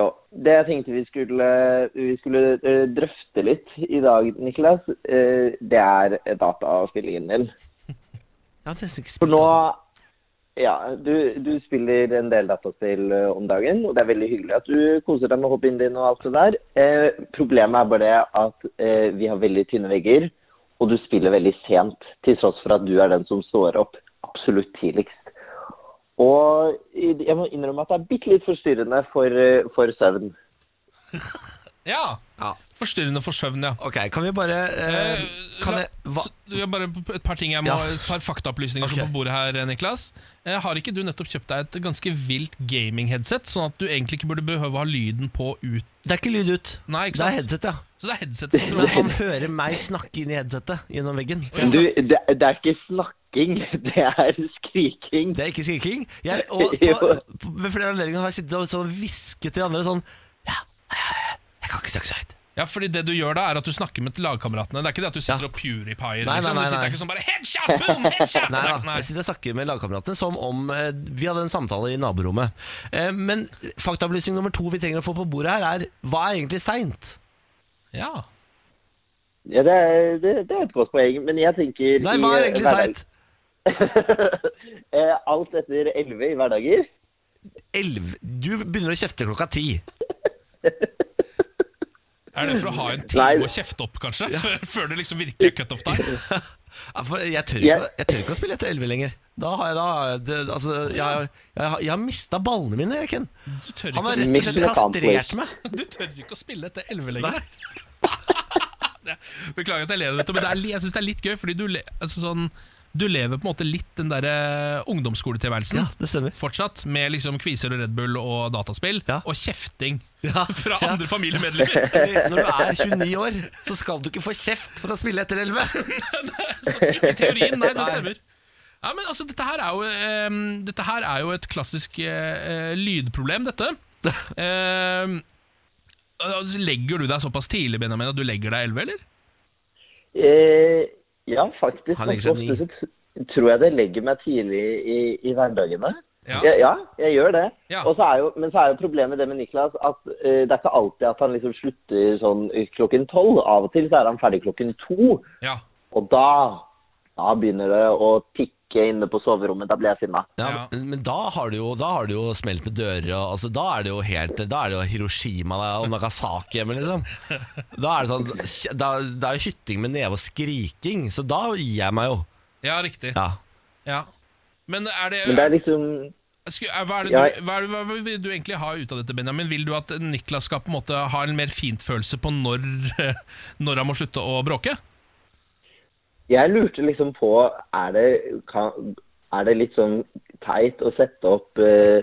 S8: Jo. Det jeg tenkte vi skulle, vi skulle eh, drøfte litt i dag, Niklas, eh, det er dataspillingen din.
S1: Jeg har nesten ikke
S8: For
S1: spilt
S8: nå
S1: data.
S8: Ja, du, du spiller en del dataspill eh, om dagen, og det er veldig hyggelig at du koser deg med hobbyen din og alt det der. Eh, problemet er bare det at eh, vi har veldig tynne vegger, og du spiller veldig sent, til tross for at du er den som står opp absolutt tidligst. Og i- jeg må innrømme at det er bitte litt forstyrrende for, eh, for søvn.
S2: ja.
S1: Ja.
S2: Forstyrrende for søvn, ja.
S1: Ok, kan vi bare eh,
S2: Eh,
S1: Kan
S2: la-
S1: jeg hva?
S2: så- du, jeg bare et par ting jeg må,
S1: Ja.
S2: et par faktaopplysninger som
S1: Ok.
S2: er på bordet her, Niklas. Eh, har ikke du nettopp kjøpt deg et ganske vilt gaming-headset, sånn at du egentlig ikke burde behøve å ha lyden på ut?
S1: Det er ikke lyd ut.
S2: Nei, ikke
S1: Det er
S2: sant?
S1: headset, ja.
S2: Så det er headsetet som
S1: Men
S2: prøver
S1: han hører meg snakke inn i headsetet gjennom veggen.
S8: Du, det, det er ikke snakking, det er skriking.
S1: Det er ikke skriking. Jeg, og
S8: Jo.
S1: på, på, ved flere anledninger har jeg sittet og sånn hvisket til de andre sånn Ja, jeg kan ikke snakke så høyt.
S2: Ja, fordi det du gjør da, er at du snakker med lagkameratene. Det er ikke det at du sitter og puripier.
S1: Nei, nei,
S2: Liksom.
S1: nei,
S2: Du sitter
S1: nei.
S2: ikke sånn bare headshot, boom, headshot!
S1: Nei
S2: Det
S1: da,
S2: er-
S1: jeg sitter og snakker med lagkameratene som om eh, vi hadde en samtale i naborommet. Eh, men faktaopplysning nummer to vi trenger å få på bordet her, er hva er egentlig seint?
S2: Ja.
S8: Ja, det, er, det, det er et godt poeng, men jeg tenker
S1: Nei, hva er
S8: i
S1: egentlig seint?
S8: hverdagen- Eh, Alt etter 11 i hverdager.
S1: Elv- Du begynner å kjefte klokka ti.
S2: Er det for å ha en
S8: Nei.
S2: time å kjefte opp, kanskje? Før, før det liksom virkelig er cutoff der?
S1: Ja, For jeg tør,
S8: Jeg-
S1: ikke, jeg tør ikke å spille etter elleve lenger. Da har jeg da det, Altså, jeg, har- jeg, har- jeg har mista ballene mine, jeg, Ken.
S2: Du tør
S1: Han har
S2: ikke, å-
S1: rett og slett
S8: Mission
S1: kastrert meg.
S2: du tør ikke å spille etter elleve lenger. Det- Beklager at jeg ler av dette, men det er, li- jeg syns det er litt gøy, fordi du, le, altså sånn, du lever på en måte litt den derre ungdomsskoletilværelsen.
S1: Ja, det stemmer.
S2: Fortsatt med liksom kviser og Red Bull og dataspill
S1: Ja.
S2: og kjefting
S1: Ja,
S2: fra
S1: ja.
S2: andre familiemedlemmer.
S1: Fordi Når du er 29 år, så skal du ikke få kjeft for å spille etter elleve.
S2: Så ikke teorien, nei, det stemmer. Ja, men altså, dette her er jo, ehm, dette her er jo et klassisk eh, eh, lydproblem, dette. Ehm, altså, legger du deg såpass tidlig, Benjamin, at du legger deg 11, eller?
S8: Eh, ja, faktisk.
S1: Han legger seg
S8: Ofte så t- tror jeg det legger meg tidlig i, i hverdagene.
S2: Ja.
S8: Ja, ja, jeg gjør det.
S2: Ja.
S8: Og så er jo, men så er jo problemet det med Niklas at eh, det er ikke alltid at han liksom slutter sånn klokken tolv. Av og til så er han ferdig klokken to,
S2: Ja.
S8: og da, da begynner det å tikke inne på soverommet. Da blir jeg sinna.
S1: Ja, men- men da har du jo, da har du jo smelt med dører, og altså, da er det jo helt Da er det jo Hiroshima og Nagasaki hjemme, liksom. Da er det sånn Da, da er det hytting med neve og skriking, så da gir jeg meg jo.
S2: ja, riktig.
S1: Ja.
S2: Ja. Men er det,
S8: Men det er liksom
S2: sku- er- hva, er det
S8: Ja.
S2: du, hva, er det, hva vil du egentlig ha ut av dette, Benjamin? Vil du at Niklas skal på en måte ha en mer fintfølelse på når, når han må slutte å bråke?
S8: Jeg lurte liksom på Er det, kan, er det litt sånn teit å sette opp eh,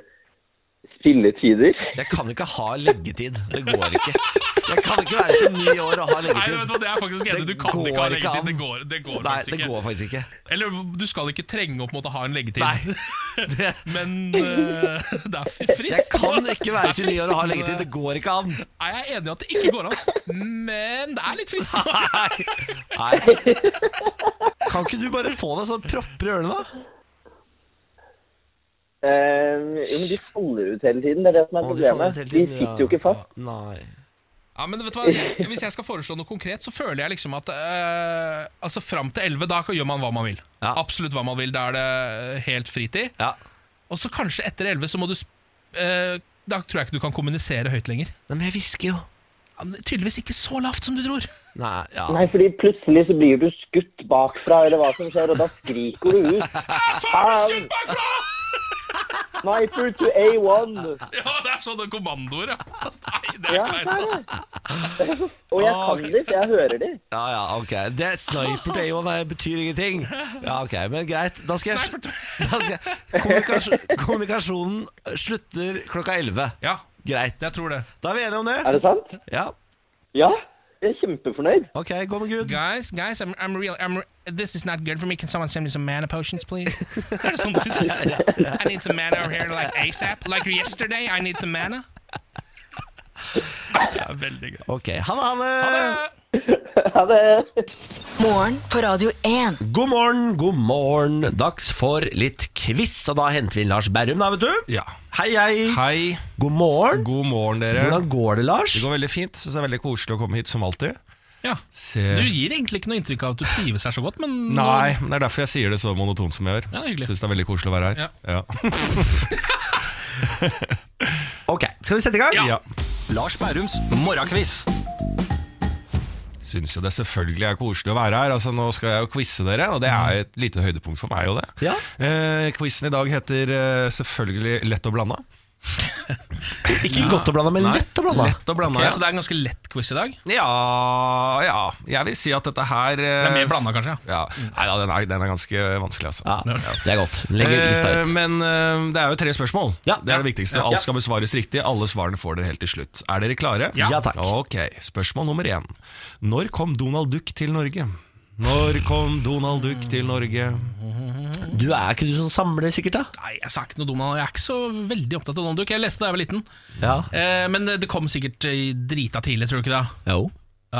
S8: spilletider?
S1: Jeg kan ikke ha leggetid. Det går ikke. Jeg kan ikke være 29 år og ha
S2: Nei, vet du hva,
S1: leggetid.
S2: det er faktisk enig. Du
S1: Det
S2: kan
S1: går
S2: ikke ha
S1: ikke
S2: leggetid.
S1: an.
S2: Det går, det går
S1: Nei,
S2: faktisk
S1: det
S2: ikke.
S1: går faktisk ikke.
S2: Eller du skal ikke trenge å på en måte ha en leggetid.
S1: Nei. Det,
S2: Men eh, det er fri-
S1: jeg
S2: frist.
S1: kan ikke være 29 år og
S2: Det er
S1: ha
S2: fristende.
S1: leggetid. Det går ikke an.
S2: Nei, Jeg er enig i at det ikke går an, men det er litt frist.
S1: Nei. Nei. Kan ikke du bare få deg sånn propper i ørene, da?
S8: Eh, jo, men de faller ut hele tiden. Det er det som er
S1: Å, de faller
S8: problemet.
S1: ut hele
S8: De
S1: tiden,
S8: sitter
S1: ja.
S8: jo ikke fast.
S1: Ja, Nei.
S2: Ja, men vet du hva, jeg, Hvis jeg skal foreslå noe konkret, så føler jeg liksom at eh, Altså fram til 11, da gjør man hva man vil.
S1: Ja.
S2: Absolutt hva man vil. Da er det eh, helt fritid.
S1: Ja.
S2: Og så kanskje etter 11 så må du sp eh, Da tror jeg ikke du kan kommunisere høyt lenger.
S1: Nei, men jeg hvisker jo.
S2: Ja, men Tydeligvis ikke så lavt som du tror.
S1: Nei, ja.
S8: Nei, fordi plutselig så blir du skutt bakfra, eller hva som skjer, og da skriker du ut. Faen! Sniper to A1.
S2: Ja, det er sånne kommandoer, ja. Nei, det er ikke
S8: Ja, det er
S2: helt-
S8: det. Og jeg kan det, jeg hører det.
S1: ja, ja, ok. Det Sniper Day One er- betyr ingenting. Ja, ok, men greit. Da skal jeg,
S2: Sniper Day.
S1: da skal jeg kommunikasjon, Kommunikasjonen slutter klokka 11.
S2: Ja,
S1: Greit.
S2: jeg tror det.
S1: Da er vi enige om det.
S8: Er det sant?
S1: Ja,
S8: Ja. Jeg er kjempefornøyd.
S1: ok, gå med Gud.
S2: Guys, guys, I'm, I'm real. I'm, re- this is not good for me. Can someone send me some mana potions, please? Er det sånn du sier? I need some mana over here, like ASAP. Like yesterday, I need some mana. Det er veldig gøy.
S1: Ok, ha det, ha det.
S8: Ha det.
S4: Morgen på Radio 1.
S1: God morgen, god morgen. Dags for litt quiz, og da henter vi inn Lars Berrum, da, vet du.
S9: Ja.
S1: Hei, hei.
S9: Hei,
S1: God morgen.
S9: god morgen dere.
S1: Hvordan går det, Lars?
S9: Det går veldig fint. Synes det er veldig koselig å komme hit, som alltid.
S2: Ja.
S9: Se.
S2: Du gir egentlig ikke noe inntrykk av at du trives her så godt, men
S9: Nei, men det er derfor jeg sier det så monotont som jeg gjør.
S2: Ja, hyggelig.
S9: Synes det er veldig koselig å være her. Ja.
S1: Ok, skal vi sette i gang?
S9: Ja.
S3: Lars Bærums morgenkviss.
S9: Synes jo det selvfølgelig er koselig å være her. Altså, nå skal jeg jo quizze dere, og det er et lite høydepunkt for meg. Og det.
S1: Mm. Ja.
S9: Eh, quizen i dag heter eh, selvfølgelig Lett og blanda.
S1: Ikke godt å blande, men
S9: Nei.
S1: lett å blande.
S9: Lett og blanda,
S2: Ok, Så det er en ganske lett quiz i dag?
S9: ja. ja. Ja, jeg vil si at dette her Det
S2: er mer blanda, kanskje,
S9: Ja. Nei, ja, den, er, den er ganske vanskelig, altså.
S1: Mm. Ja, det er godt. Legger lista
S9: Eh,
S1: ut.
S9: Men eh, det er jo tre spørsmål.
S1: Ja.
S9: Det er det viktigste.
S1: Ja.
S9: Alt skal besvares riktig. Alle svarene får dere helt til slutt. Er dere klare?
S1: Ja. Ja, takk.
S9: Ok, Spørsmål nummer én. Når kom Donald Duck til Norge? Når kom Donald Duck til Norge?
S1: Du er ikke du som samler, sikkert? da?
S2: Nei, jeg sa ikke noe dumt. Jeg er ikke så veldig opptatt av Donald Duck. Jeg leste da jeg var liten.
S1: Ja.
S2: Eh, men det kom sikkert eh, drita tidlig, tror du ikke det?
S1: Jo.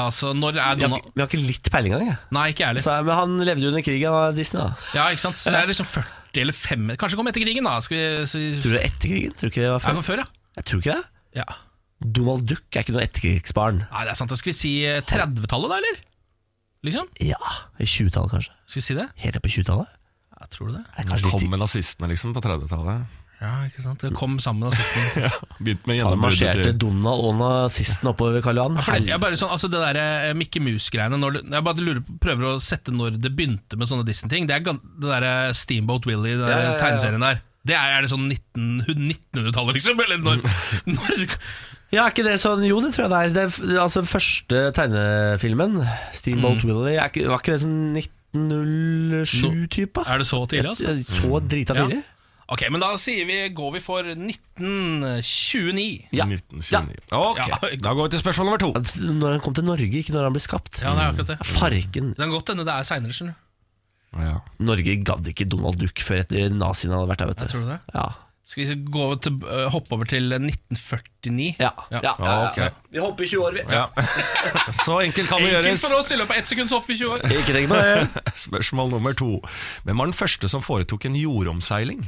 S2: Altså, når er
S1: Vi har,
S2: Donald
S1: ikke- vi har ikke litt peiling engang. jeg.
S2: Nei, ikke jeg heller.
S1: Så, Men han levde jo under krigen av Disney. da
S2: Ja, ikke sant? Så det er liksom 40 eller 5 Kanskje det kom etter krigen, da. Skal vi så...
S1: Tror du det er etter krigen? Tror du ikke det var
S2: Er det
S1: før?
S2: noe før, ja?
S1: Jeg tror ikke det.
S2: ja.
S1: Donald Duck er ikke noe etterkrigsbarn.
S2: Nei, det er sant. Da skal vi si eh, 30-tallet, da, eller? Liksom?
S1: Ja, i 20-tallet kanskje.
S2: Skal vi si det?
S1: Helt ned på 20-tallet?
S2: Ja, tror du det?
S1: Er det
S9: Det
S1: kanskje
S9: kom
S1: litt
S9: med nazistene liksom på 30-tallet.
S2: Ja, ikke sant? Det kom sammen med nazistene.
S9: Begynte med
S1: Han marsjerte
S9: gjennombruddet til
S1: Donald og nazisten oppover Karl Johan.
S2: For det- Jeg bare sånn, altså det der eh, Mickey Mouse-greiene når du- Jeg bare lurer, på- prøver å sette når det begynte med sånne Disney-ting. Det er gan- det der eh, Steamboat Willie, den der
S1: ja, ja, ja.
S2: tegneserien der. Det er, er det sånn 1900 1900-tallet, liksom? Eller når,
S1: Mm.
S2: når
S1: Ja, er ikke det sånn Jo, det tror jeg det er. Det er f- altså første tegnefilmen, Steamboat Willie, er ikke, var ikke det sånn 1907-type?
S2: Er det så tidlig, altså?
S1: Så drita
S2: Ja.
S1: tidlig?
S2: Ok, men da sier vi, går vi for 1929.
S1: Ja.
S9: 1929. Ok,
S2: Ja.
S9: Da går vi til spørsmål nummer to.
S1: Når han kom til Norge, ikke når han ble skapt.
S2: Ja, det er akkurat det.
S9: Mm.
S1: Farken.
S2: Det kan godt hende det er seinere, skjønner du.
S9: Ja.
S1: Norge gadd ikke Donald Duck før etter naziene hadde vært der, vet
S2: Jeg
S1: du.
S2: tror det.
S1: Ja.
S2: Skal vi gå til, eh, hoppe over til 1949?
S1: Ja.
S2: Ja.
S1: Ja. Ja.
S9: Ok.
S1: Vi hopper 20 år, vi.
S9: Ja. Så enkelt kan det
S2: Enkelt
S9: gjøres.
S2: for oss i løpet av ett sekund så hopper vi 20 år.
S1: Ikke tenk på det.
S9: Spørsmål nummer to. Hvem var den første som foretok en jordomseiling?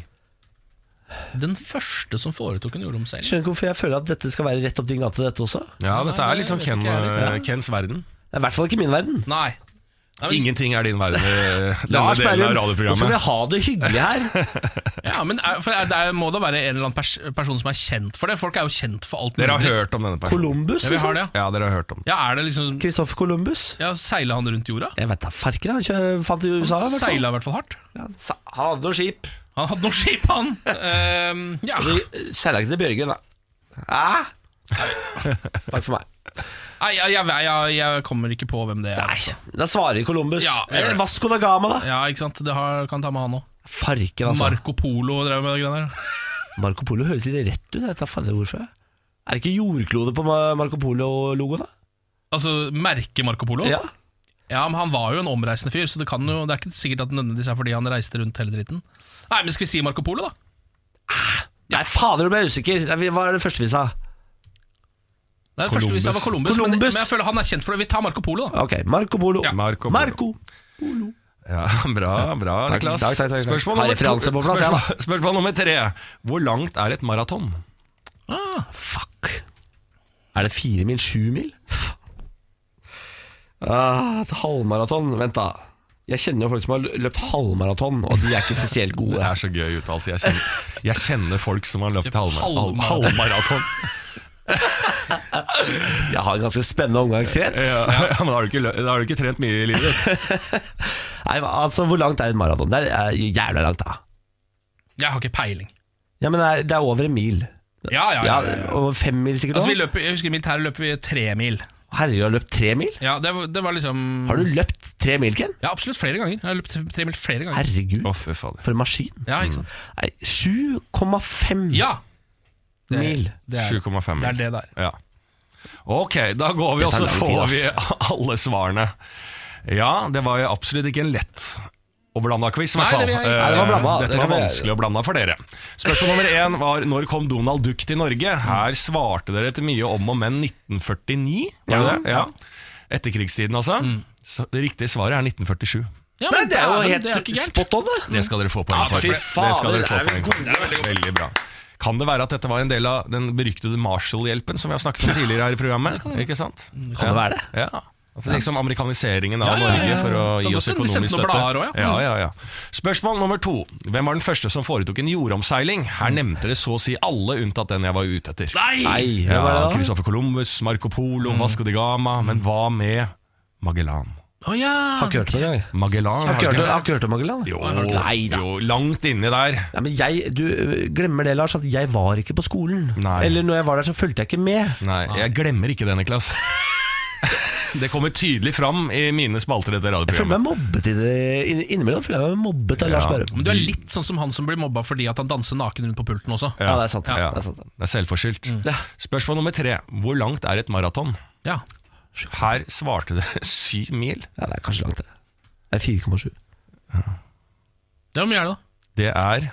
S2: Den første som foretok en jordomseiling.
S1: Skjønner ikke hvorfor jeg føler at dette skal være rett opp din gate, dette også.
S9: Ja,
S2: Nei,
S9: dette er
S2: det
S9: liksom
S2: vet
S9: Ken,
S2: ikke jeg
S9: eh, Kens verden.
S1: Det er i hvert fall ikke min verden.
S2: Nei. Nei, men,
S9: Ingenting er din verden. eh, Denne
S1: Lars
S9: delen av
S1: Berrum, nå skal vi
S9: radioprogrammet.
S1: ha det hyggelig her.
S2: ja, men er, for er, det er- må da være en eller annen pers person som er kjent for det? Folk er jo kjent for alt
S9: Dere har
S2: mulig.
S9: hørt om denne personen?
S1: Columbus,
S2: Ja, vi har det,
S1: liksom.
S2: ja.
S9: Ja, dere har hørt om den.
S2: ja, er det liksom
S1: Kristoffer Columbus.
S2: ja, Seila han rundt jorda?
S1: Jeg vet da, farken han kjø- fant i USA. i hvert fall.
S2: Seila i hvert fall hardt.
S1: Ja, sa- Han hadde noe skip.
S2: Han hadde noe skip, han! Ehm, ja.
S1: Seila ikke til Bjørgen, da. Hæ? Takk for meg.
S2: Nei, jeg, jeg, jeg, jeg kommer ikke på hvem det er.
S1: Nei,
S2: altså.
S1: da svarer Columbus.
S2: Ja, jeg gjør
S1: Eh,
S2: det.
S1: Vasco da Gama, da.
S2: Ja, ikke sant? Det har, kan ta med han òg.
S1: Farken, altså.
S2: Marco Polo drev med det greiene der.
S1: Marco Polo høres litt rett ut. Jeg vet da fader hvorfor. jeg. Er det ikke jordklode på Ma- Marco Polo-logoen, da?
S2: Altså, merke Marco Polo?
S1: Ja.
S2: Ja, men Han var jo en omreisende fyr, så det, kan jo, det er ikke sikkert at det nødvendigvis er fordi han reiste rundt hele dritten. Nei, men Skal vi si Marco Polo, da?
S1: Nei, fader, nå ble jeg usikker. Nei, vi- Hva er det første vi sa?
S2: Det er det første vi sa var Columbus, Men,
S1: Columbus.
S2: men jeg føler han er kjent for det. Vi tar Marco Polo, da.
S1: Ok, Marco Polo.
S2: Ja.
S9: Marco Polo.
S1: Marco.
S9: Ja, bra, bra,
S1: Takk,
S9: Niklas.
S1: takk, takk, takk, takk.
S9: Spørsmål,
S1: Har
S9: nummer to-
S1: referanse på plass, jeg, da.
S9: spørsmål, spørsmål nummer tre. Hvor langt er et maraton?
S1: Fuck. Er det fire mil? Sju mil? Ah, et halvmaraton. Vent, da. Jeg kjenner jo folk som har løpt halvmaraton, og de er ikke spesielt
S9: Det
S1: gode.
S9: er så gøy uttalelse. Jeg, kjenner- jeg kjenner folk som har løpt halvmaraton.
S2: Halvmaraton.
S9: halvmaraton.
S1: Jeg har en ganske spennende omgangskrets.
S9: Ja, ja, men da har, du ikke, lø- da har du ikke trent mye i livet ditt.
S1: Nei, hva- altså, Hvor langt er et maraton? Det er eh, jævla langt, da.
S2: Jeg har ikke peiling.
S1: Ja, men det er, det er over en mil.
S2: Ja, ja, ja,
S1: Ja,
S2: ja, ja.
S1: Over fem mil, sikkert.
S2: Altså, vi
S1: også.
S2: løper, jeg husker i militæret løper vi tre mil.
S1: Herregud, du har løpt tre mil?
S2: Ja, det, var- det var liksom
S1: Har du løpt tre mil, Ken?
S2: Ja, absolutt flere ganger. Jeg har løpt tre mil flere ganger.
S1: Herregud,
S9: Å, fy fader.
S1: for en maskin.
S2: Ja, ikke sant?
S1: Nei, 7,5
S2: Ja! Det,
S1: mil.
S2: Det er,
S9: 7,5
S2: det er
S9: mil.
S2: det der.
S9: Ja. Ok, da går vi,
S1: Det
S9: og
S1: tar
S9: så
S1: lang tid,
S9: får
S1: ass.
S9: vi alle svarene. Ja, det var jo absolutt ikke en lett og blanda quiz, i hvert
S2: Nei,
S9: fall.
S2: det vil jeg ikke.
S9: Eh,
S1: Nei, det var blanda. Det
S9: Dette var
S1: kan vi-
S9: vanskelig å blanda for dere. Spørsmål nummer én var når kom Donald Duck til Norge? Her
S1: Mm.
S9: svarte dere til mye om og men 1949. Var det det? Ja. Etterkrigstiden, altså.
S1: Mm.
S9: Så det riktige svaret er 1947.
S2: Ja,
S1: Nei,
S2: men
S1: det er jo
S2: dæven,
S1: helt
S2: det er ikke gærent.
S1: spot on, det.
S9: Det skal dere få poeng
S1: Ja,
S9: for.
S1: fy
S9: Det skal
S1: fader,
S9: dere få
S1: er vi
S9: poeng for. Veldig bra. Kan det være at dette var en del av den beryktede Marshall-hjelpen som vi har snakket om tidligere her i programmet? Ikke sant?
S1: Kan det være det?
S9: Ja. Altså liksom amerikaniseringen av
S2: Ja, ja, ja,
S9: Norge
S2: ja.
S9: for å
S2: Det er
S9: gi
S2: godt at
S9: oss
S2: de sendte
S9: økonomisk
S2: noen
S9: støtte.
S2: blader også, ja.
S9: ja, ja, ja. Spørsmål nummer to. Hvem var den første som foretok en jordomseiling? Her nevnte dere så å si alle unntatt den jeg var ute etter.
S2: Nei!
S1: Nei, hva var
S9: Ja,
S1: det da?
S9: Christopher Columbus, Marco Polo, Vasco de Gama. Men hva med Magellan?
S2: Å ja!
S1: Har ikke hørt om det engang.
S9: Magellan
S1: Har
S9: har
S1: ikke hørt
S9: du
S1: om- har ikke hørt om Magellan?
S9: Jo,
S1: Nei da.
S9: jo, langt inni der.
S1: Nei, men jeg, Du ø, glemmer det, Lars, at jeg var ikke på skolen.
S9: Nei.
S1: Eller når jeg var der, så fulgte jeg ikke med.
S9: Nei, jeg glemmer ikke det, Niklas. det kommer tydelig fram i mine spalter i dette
S1: Jeg føler meg
S9: radioprogrammet.
S1: mobbet i det inn- innimellom. føler jeg meg mobbet av
S9: Ja.
S1: Lars Berrum.
S2: Men du er litt sånn som han som blir mobba fordi at han danser naken rundt på pulten også.
S1: Ja, Mm. det er sant.
S9: Ja.
S1: Det er sant.
S9: Det er selvforskyldt.
S1: Ja.
S9: Spørsmål nummer tre. Hvor langt er et maraton?
S2: Ja.
S9: Her svarte dere syv mil.
S1: Ja, det er kanskje langt, det. Det er 4,7.
S2: Det var mye er det, da.
S9: Det er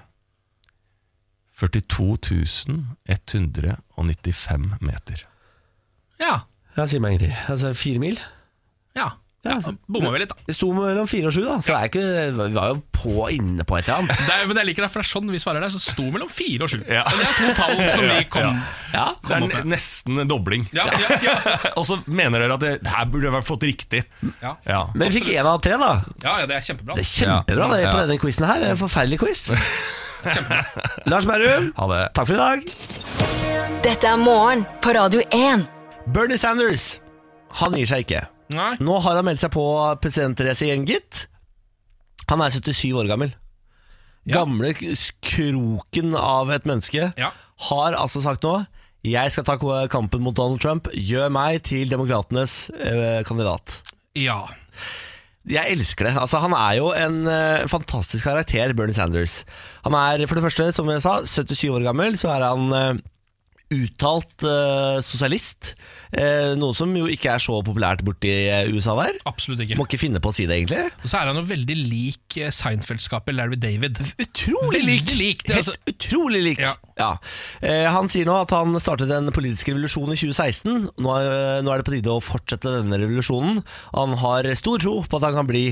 S9: 42 195 meter.
S2: Ja.
S1: Ja, sier meg ingenting. Altså, fire mil?
S2: Ja,
S1: Ja.
S2: ja Bomma vi litt, da.
S1: Det sto mellom fire og sju, da, så det er ikke, vi var jo på inne på et eller annet.
S2: Det er, men jeg liker det, for det er sånn vi svarer der. Så sto mellom fire og sju. Og det er to tall som vi kom
S1: Ja,
S9: Det er ne- nesten en dobling.
S2: Ja, ja, ja.
S9: Og så mener dere at det, det her burde jeg vært fått riktig.
S2: Ja.
S9: Ja.
S1: Men vi fikk én av tre, da.
S2: ja, ja, det er kjempebra.
S1: Det er kjempebra det på
S9: Ja.
S1: denne quizen her. Det er En forferdelig quiz. Lars Berrum,
S9: Ha det.
S1: takk for i dag.
S4: Dette er morgen på Radio 1.
S1: Bernie Sanders, han gir seg ikke.
S2: Nei,
S1: Nå har han meldt seg på presidentrace igjen, gitt. Han er 77 år gammel.
S2: Ja.
S1: Gamle k- kroken av et menneske
S2: Ja.
S1: har altså sagt nå jeg skal ta k- kampen mot Donald Trump. Gjør meg til demokratenes eh, kandidat.
S2: ja.
S1: Jeg elsker det. Altså, han er jo en eh, fantastisk karakter, Bernie Sanders. Han er for det første, som jeg sa, 77 år gammel, så er han eh, uttalt eh, sosialist. Eh, noe som jo ikke er så populært borti eh, USA der.
S2: Absolutt ikke.
S1: Må ikke finne på å si det, egentlig.
S2: Og så er han jo veldig lik eh, Seinfeld-skapet Larry David.
S1: Utrolig
S2: Veldig
S1: lik!
S2: lik, det,
S1: Helt
S2: altså.
S1: utrolig lik! Ja.
S2: Ja.
S1: Eh, han sier nå at han startet en politisk revolusjon i 2016. Nå er, eh, nå er det på tide å fortsette denne revolusjonen. Han har stor tro på at han kan bli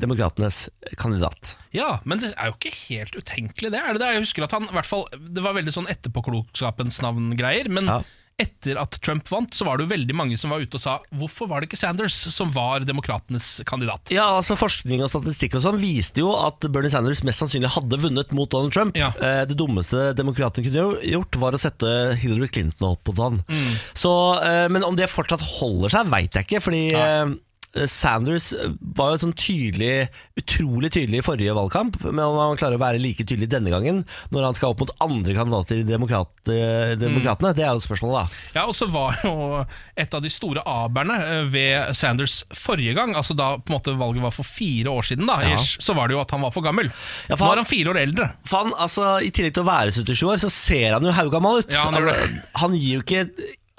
S1: demokratenes kandidat.
S2: Ja, Men det er jo ikke helt utenkelig, det. er det det? Jeg husker at han, i hvert fall, Det var veldig sånn etterpåklokskapens navn-greier. Men
S1: Ja.
S2: etter at Trump vant, så var det jo veldig mange som var ute og sa hvorfor var det ikke Sanders som var demokratenes kandidat?
S1: Ja, altså Forskning og statistikk og sånn viste jo at Bernie Sanders mest sannsynlig hadde vunnet mot Donald Trump.
S2: Ja.
S1: Eh, Det dummeste demokratene kunne jo- gjort, var å sette Hillary Clinton opp mot han. Så, eh, men om det fortsatt holder seg, veit jeg ikke. Fordi eh, Sanders var jo sånn tydelig, utrolig tydelig i forrige valgkamp. Men om han klarer å være like tydelig denne gangen, når han skal opp mot andre kandidater i demokrat, eh, Demokratene, det er jo spørsmålet, da.
S2: Ja, og så var jo et av de store aberne eh, ved Sanders forrige gang, altså da på en måte valget var for fire år siden, da, ish, så var det jo at han var for gammel.
S1: Ja, for
S2: Nå
S1: han-
S2: er han fire år eldre.
S1: For han, altså, I tillegg til å være 77 år, så ser han jo haugammal ut.
S2: Ja, han gjør
S1: altså, han gir jo ikke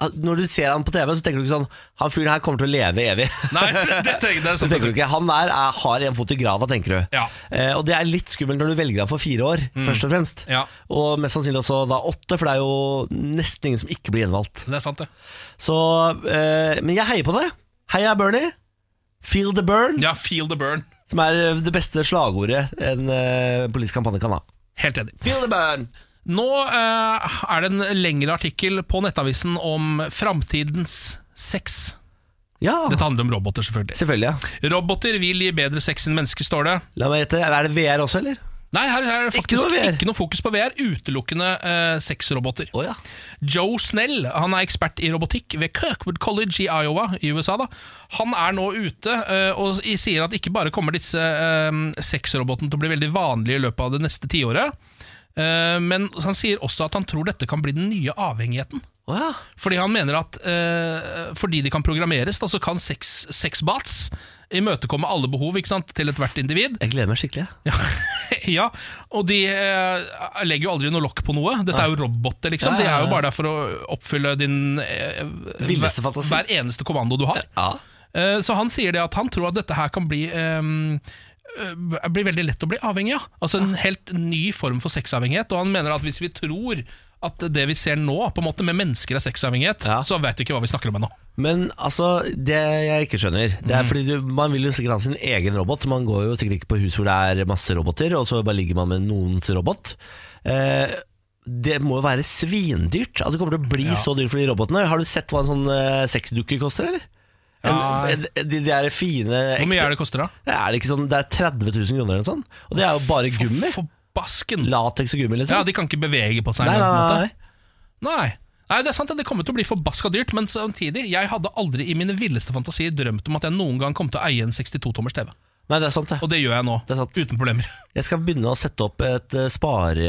S1: Når du ser han på TV, så tenker du ikke sånn Han fyren her kommer til å leve evig.
S2: Nei, det tenker, det er
S1: Så
S2: sant.
S1: tenker du ikke, Han der er, har en fot i grava, tenker du.
S2: Ja. Mm.
S1: Eh, og det er litt skummelt når du velger han for fire år, først og fremst.
S2: Ja.
S1: Og mest sannsynlig også da åtte, for det er jo nesten ingen som ikke blir gjenvalgt.
S2: Det er sant, det.
S1: Så, eh, Men jeg heier på det. Heia Bernie. Feel the burn,
S2: Ja, feel the burn.
S1: som er eh, det beste slagordet en eh, politisk kampanje kan ha.
S2: Helt enig.
S1: Feel the burn
S2: Nå eh, er det en lengre artikkel på Nettavisen om framtidens sex.
S1: Ja,
S2: Dette handler om roboter, selvfølgelig.
S1: selvfølgelig. ja
S2: Roboter vil gi bedre sex enn mennesker, står det.
S1: La meg gjette, er det VR også, eller?
S2: Nei, her er det
S1: Ikke noe
S2: faktisk ikke
S1: VR.
S2: noe, fokus på VR. Utelukkende eh, sexroboter.
S1: Å ja.
S2: Joe Snell han er ekspert i robotikk ved Kirkwood College i Iowa i USA. da. Han er nå ute eh, og s- sier at ikke bare kommer disse eh, sexrobotene til å bli veldig vanlige i løpet av det neste tiåret, eh, men han sier også at han tror dette kan bli den nye avhengigheten.
S1: Å ja.
S2: Fordi han mener at eh, fordi de kan programmeres, da, så kan sex, sexbots imøtekomme alle behov ikke sant, til ethvert individ.
S1: Jeg gleder meg skikkelig. jeg.
S2: Ja, ja og de eh, legger jo aldri noe lokk på noe. Dette er jo roboter, liksom.
S1: Ja, ja, ja.
S2: De er jo bare der for å oppfylle din eh,
S1: Villeste
S2: hver-
S1: fantasi.
S2: Hver eneste kommando du har.
S1: Ja.
S2: Eh, så han sier det at han tror at dette her kan bli ehm, eh, blir veldig lett å bli avhengig av. Altså En helt ny form for sexavhengighet. Og han mener at hvis vi tror at det vi ser nå, på en måte med mennesker er sexavhengighet,
S1: Ja.
S2: så vet vi ikke hva vi snakker om ennå.
S1: Men altså, det jeg ikke skjønner Det er fordi du, Man vil jo sikkert ha sin egen robot. Man går jo sikkert ikke på hus hvor det er masse roboter, og så bare ligger man med noens robot. Eh, det må jo være svindyrt. Altså, det kommer til å bli så dyrt for de robotene. Har du sett hva en sånn eh, sexdukke koster, eller? En, en, de, de er fine
S2: Hvor mye er det koster, da?
S1: Er det ikke sånn Det er 30 000 kroner eller noe sånt. Og det er jo bare gummi.
S2: Forbasken!
S1: Lateks og gummi, liksom.
S2: Ja, De kan ikke bevege på seg.
S1: nei,
S2: eller noe på en måte.
S1: nei, nei.
S2: Nei. Nei, det er sant at det kommer til å bli forbaska dyrt, men samtidig, jeg hadde aldri i mine villeste fantasier drømt om at jeg noen gang kom til å eie en 62-tommers TV.
S1: Nei, det er sant, det.
S2: Og det gjør jeg nå,
S1: Det er sant.
S2: uten problemer.
S1: Jeg skal begynne å sette opp et eh, spare,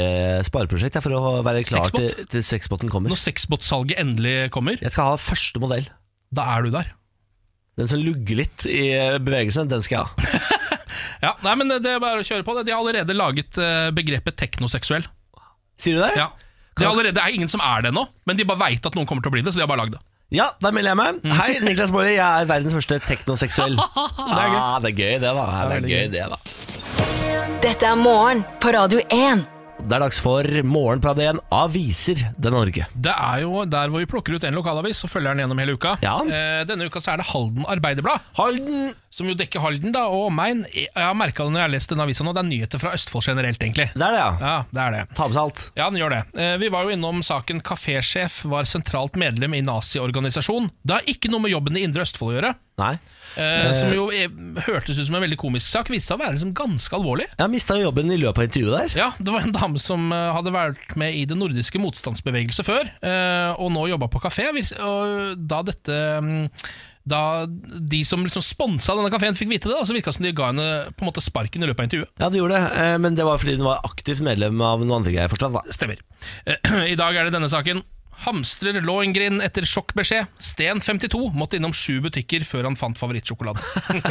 S1: spareprosjekt jeg, for å være klar
S2: Sexbot?
S1: til, til sexboten kommer.
S2: Når sexbot-salget endelig kommer,
S1: Jeg skal ha første modell.
S2: da er du der.
S1: Den som lugger litt i eh, bevegelsene, den skal jeg ha.
S2: Ja, nei, men Det er bare å kjøre på. det. De har allerede laget eh, begrepet teknoseksuell.
S1: Sier du det?
S2: Ja. Det er, allerede, det er ingen som er det ennå, men de bare veit at noen kommer til å bli det. så de har bare laget det.
S1: Ja, da melder jeg meg. Hei, Niklas Baarli. Jeg er verdens første teknoseksuell. det, er ah, det er gøy, det, da. Ja, det er gøy, det, da.
S4: Dette er morgen på Radio 1.
S1: Det er dags for Morgenpradien Aviser det Norge.
S2: Det er jo der hvor vi plukker ut en lokalavis og følger den gjennom hele uka.
S1: Ja.
S2: Eh, denne uka så er det Halden Arbeiderblad,
S1: Halden!
S2: som jo dekker Halden da, og omegn. Jeg har merka det når jeg har lest denne avisa nå, det er nyheter fra Østfold generelt, egentlig.
S1: Det er det, ja.
S2: Ja, det er det.
S1: Ta med seg alt.
S2: Ja, den gjør det. Eh, Vi var jo innom saken kafésjef var sentralt medlem i naziorganisasjon. Det har ikke noe med jobben i Indre Østfold å gjøre.
S1: Nei.
S2: Eh, som jo eh, hørtes ut som en veldig komisk sak, viste seg å være liksom ganske alvorlig.
S1: Jeg mista jobben i løpet av intervjuet der.
S2: Ja, Det var en dame som eh, hadde vært med i det nordiske motstandsbevegelse før, eh, og nå jobba på kafé. vir- Og da dette mm, Da de som liksom sponsa denne kafeen, fikk vite det, da, så virka det som de ga henne på en måte sparken i løpet av intervjuet.
S1: Ja, det gjorde det, eh, men det var fordi hun var aktivt medlem av noen andre greier fortsatt, da.
S2: Stemmer. Eh, I dag er det denne saken. Hamstrer Lohengrin etter sjokkbeskjed. Sten 52 måtte innom sju butikker før han fant favorittsjokoladen.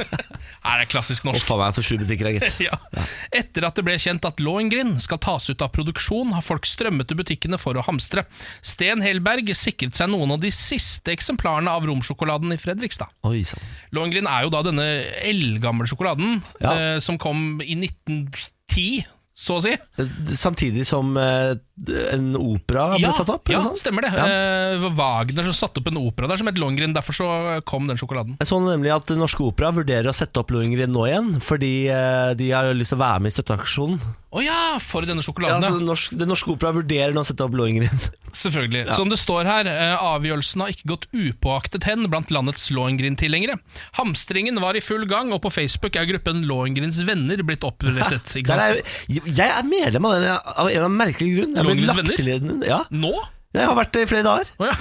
S2: Her er klassisk
S1: Å,
S2: norsk.
S1: faen meg, så sju butikker, er, gitt.
S2: Ja. Etter at det ble kjent at Lohengrin skal tas ut av produksjon, har folk strømmet til butikkene for å hamstre. Sten Helberg sikret seg noen av de siste eksemplarene av romsjokoladen i Fredrikstad.
S1: Oi sann.
S2: Lohengrin er jo da denne eldgamle sjokoladen
S1: Ja.
S2: eh, som kom i 1910, så å si.
S1: Eh, Samtidig som eh, en opera ble satt opp?
S2: ja
S1: eller sånn?
S2: stemmer det.
S1: Ja.
S2: Eh, det var Wagner som satte opp en opera der som het Lohengrin. Derfor så kom den sjokoladen.
S1: Jeg så nemlig at Norske Opera vurderer å sette opp Lohengrin nå igjen, fordi eh, de har lyst til å være med i støtteaksjonen.
S2: Å ja, for denne
S1: Ja,
S2: sjokoladen,
S1: altså,
S2: ja.
S1: norsk, det Norske Opera vurderer nå å sette opp Lohengrin.
S2: Selvfølgelig. Som det står her, eh, avgjørelsen har ikke gått upåaktet hen blant landets Lohengrin-tilhengere. Hamstringen var i full gang, og på Facebook er gruppen Lohengrins venner blitt opprettet. Ikke
S1: Der er,
S2: sant?
S1: jeg jeg er medlem av den jeg- av en eller annen merkelig grunn. Jeg, har blitt
S2: Lohengrins
S1: lagt
S2: venner?
S1: til i den. Ja,
S2: Nå?
S1: jeg har vært det i flere dager.
S2: Å ja.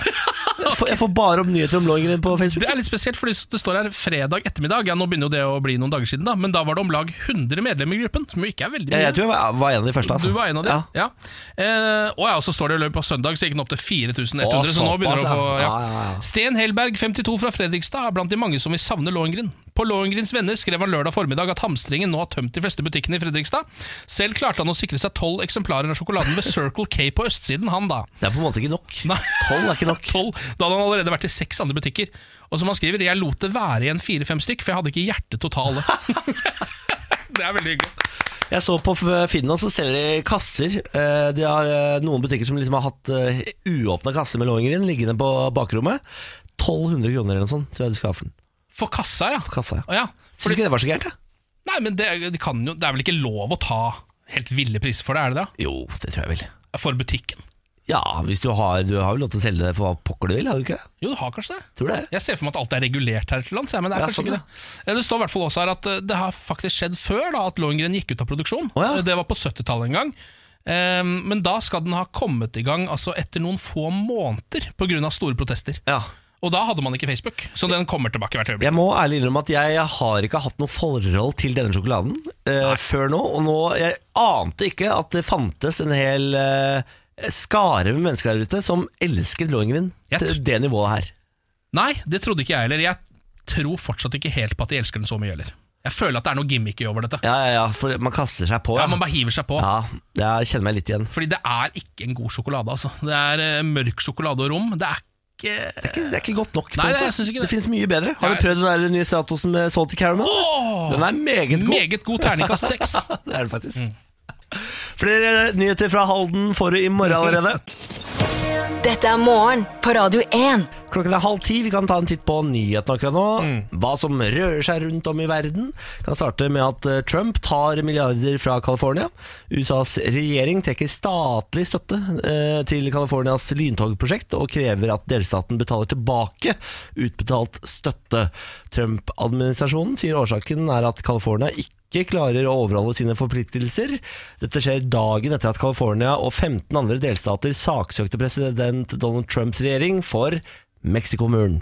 S1: Jeg får- Jeg får bare opp nyheter om Lohengrin på Facebook.
S2: Det er litt spesielt, fordi det står her fredag ettermiddag. Ja, Nå begynner jo det å bli noen dager siden, da men da var det om lag 100 medlemmer i gruppen. Som jo ikke er veldig
S1: Jeg,
S2: mye.
S1: jeg tror jeg var, var en av de første. Altså.
S2: Du var en av de, ja. ja. Eh, og ja, og så står det i løpet av søndag, så gikk den opp til 4100.
S1: Å,
S2: så nå
S1: såpass,
S2: begynner det å få ja.
S1: ja. Ja, ja, ja.
S2: Sten Helberg, 52 fra Fredrikstad, er blant de mange som vil savne Lohengrin. På Lohengrins Venner skrev han lørdag formiddag at hamstringen nå har tømt de fleste butikkene i Fredrikstad. Selv klarte han å sikre seg tolv eksemplarer av sjokoladen ved Circle K på østsiden, han da.
S1: Det er på en måte ikke nok.
S2: Nei.
S1: Tolv er ikke nok.
S2: 12, da hadde han allerede vært i seks andre butikker. Og som han skriver, jeg lot det være igjen fire-fem stykk, for jeg hadde ikke hjerte til å ta alle. det er veldig hyggelig.
S1: Jeg så på F- Finn og så selger de kasser. Eh, De har eh, noen butikker som liksom har hatt eh, uåpna kasser med Lohengrin liggende på bakrommet. 1200 kroner eller noe sånt tror jeg de skal ha for den.
S2: For kassa, ja.
S1: For kassa, ja.
S2: Å, ja.
S1: Syns ikke det var så gærent, jeg.
S2: Nei, men det, de kan jo, det er vel ikke lov å ta helt ville priser for det, er det det?
S1: Jo, det tror jeg vel.
S2: For butikken?
S1: Ja, hvis du har Du har jo lov til å selge det for hva pokker du vil, har du ikke det?
S2: Jo, det har kanskje det.
S1: Tror det.
S2: Jeg ser for meg at alt er regulert her til lands, jeg, men det er
S1: Ja,
S2: kanskje
S1: sånn,
S2: ikke det. Eh, Det står i hvert fall også her at eh, det har faktisk skjedd før da, at Lohengrin gikk ut av produksjon.
S1: Å, ja.
S2: Eh, Det var på 70-tallet en gang. Eh, Men da skal den ha kommet i gang altså etter noen få måneder pga. store protester.
S1: Ja.
S2: Og da hadde man ikke Facebook, så den kommer tilbake hvert øyeblikk.
S1: Jeg må ærlig innrømme at jeg har ikke hatt noe forhold til denne sjokoladen eh, før nå. Og nå, jeg ante ikke at det fantes en hel eh, skare med mennesker der ute som elsket Lohengrin
S2: Jeg
S1: til
S2: tr-
S1: det nivået her.
S2: Nei, det trodde ikke jeg heller. Jeg tror fortsatt ikke helt på at de elsker den så mye heller. Jeg føler at det er noe gimmicky over dette.
S1: Ja, ja, ja, for man kaster seg på.
S2: Ja, Man bare hiver seg på.
S1: Ja, jeg kjenner meg litt igjen.
S2: Fordi det er ikke en god sjokolade, altså. Det er eh, mørk sjokolade og rom. Det er ikke
S1: Det er ikke godt nok. på en
S2: Nei,
S1: måte.
S2: jeg synes ikke det.
S1: finnes mye bedre. Har
S2: Ja,
S1: du prøvd den der nye Stratosen med salty caramel?
S2: Åh!
S1: Den er meget god.
S2: Meget god terningkast seks.
S1: det er det faktisk.
S2: Mm.
S1: Flere nyheter fra Halden får du i morgen allerede.
S4: Dette er morgen på Radio 1.
S1: Klokken er halv ti. Vi kan ta en titt på nyhetene akkurat nå. Hva som rører seg rundt om i verden. Kan starte med at eh, Trump tar milliarder fra California. USAs regjering trekker statlig støtte eh, til Californias lyntogprosjekt og krever at delstaten betaler tilbake utbetalt støtte. Trump-administrasjonen sier årsaken er at California ikke ikke klarer å overholde sine forpliktelser. Dette skjer dagen etter at California og 15 andre delstater saksøkte president Donald Trumps regjering for Mexicomuren.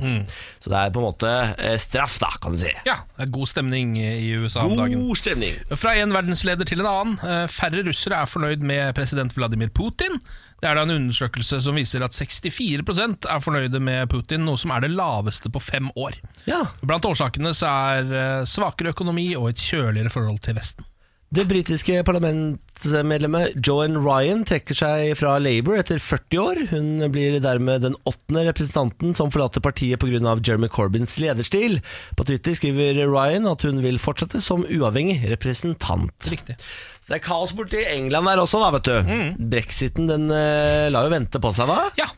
S1: Så det er på en måte eh, straff, da, kan du si.
S2: Ja, det er god stemning i USA om dagen.
S1: God stemning.
S2: Fra en verdensleder til en annen. Eh, Færre russere er fornøyd med president Vladimir Putin. Det er da en undersøkelse som viser at 64 er fornøyde med Putin, noe som er det laveste på fem år.
S1: Ja.
S2: Blant årsakene så er eh, svakere økonomi og et kjøligere forhold til Vesten.
S1: Det britiske parlamentsmedlemmet Joan Ryan trekker seg fra Labour etter 40 år. Hun blir dermed den åttende representanten som forlater partiet pga. Jeremy Corbyns lederstil. På Twitter skriver Ryan at hun vil fortsette som uavhengig representant.
S2: Riktig.
S1: Så det er kaos borti England der også, da, vet du. Brexiten den eh, la jo vente på seg, da.
S2: Ja.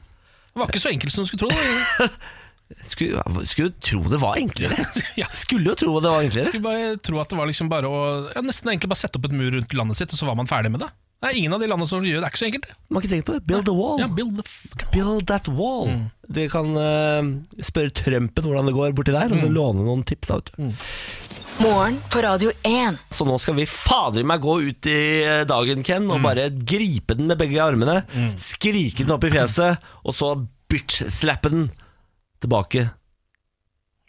S2: Det var ikke så enkelt som du skulle tro.
S1: Skulle, skulle jo tro det var enklere.
S2: Ja.
S1: Skulle jo tro det var enklere.
S2: Skulle bare tro at det var liksom bare å ja, Nesten egentlig bare sette opp et mur rundt landet sitt, og så var man ferdig med det. Det er ingen av de landene som gjør det. Det er ikke så enkelt. det.
S1: Man har ikke tenkt på det. Build the wall.
S2: Ja, build the fuck
S1: Build that wall. Dere kan eh, spørre Trumpen hvordan det går borti der, og så låne noen tips. da, vet du.
S4: Morgen på Radio 1.
S1: Så nå skal vi fader meg gå ut i eh, dagen, Ken, og bare gripe den med begge armene. Skrike den opp i fjeset, og så bitch-slappe den tilbake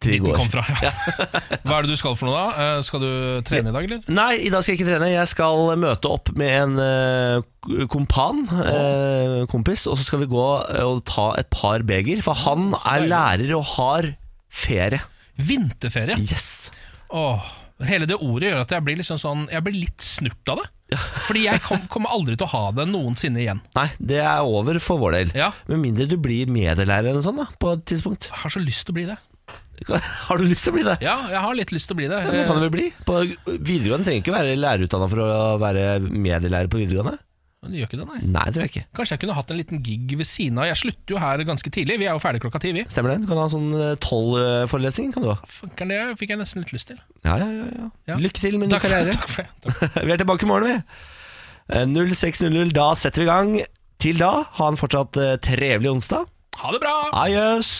S1: til i
S2: Dit de
S1: går.
S2: kom fra, ja. Hva er det du skal for noe da? Eh, Skal du trene i dag, eller?
S1: Nei, i dag skal jeg ikke trene. Jeg skal møte opp med en eh, kompan, eh, kompis, og så skal vi gå eh, og ta et par beger. For han er lærer og har ferie.
S2: Vinterferie.
S1: Yes!
S2: Åh, hele det ordet gjør at jeg blir, liksom sånn, jeg blir litt snurt av det. Fordi jeg kom, kommer aldri til å ha det noensinne igjen.
S1: Nei, det er over for vår del.
S2: Ja.
S1: Med mindre du blir medielærer eller noe sånt da, på et tidspunkt.
S2: Jeg har så lyst til å bli det.
S1: Har du lyst til å bli det?
S2: Ja, jeg har litt lyst til å bli det.
S1: Det kan du vel bli. På videregående trenger du ikke være lærerutdanna for å være medielærer på videregående.
S2: Eh, Men det gjør ikke det, nei.
S1: Nei, det tror jeg ikke.
S2: Kanskje jeg kunne hatt en liten gig ved siden av. Jeg slutter jo her ganske tidlig. Vi er jo ferdig klokka ti, vi.
S1: Stemmer det? Du kan ha sånn tolv-forelesning. kan du ha.
S2: Fanker, det fikk jeg nesten litt lyst til.
S1: Ja, ja, ja, ja.
S2: Ja.
S1: Lykke til med ny
S2: for,
S1: karriere.
S2: takk for det. Takk.
S1: Vi er tilbake i morgen, vi. Eh, 06.00, da setter vi i gang. Til da, ha en fortsatt eh, trevelig onsdag.
S2: Ha det bra!
S1: Adjøs!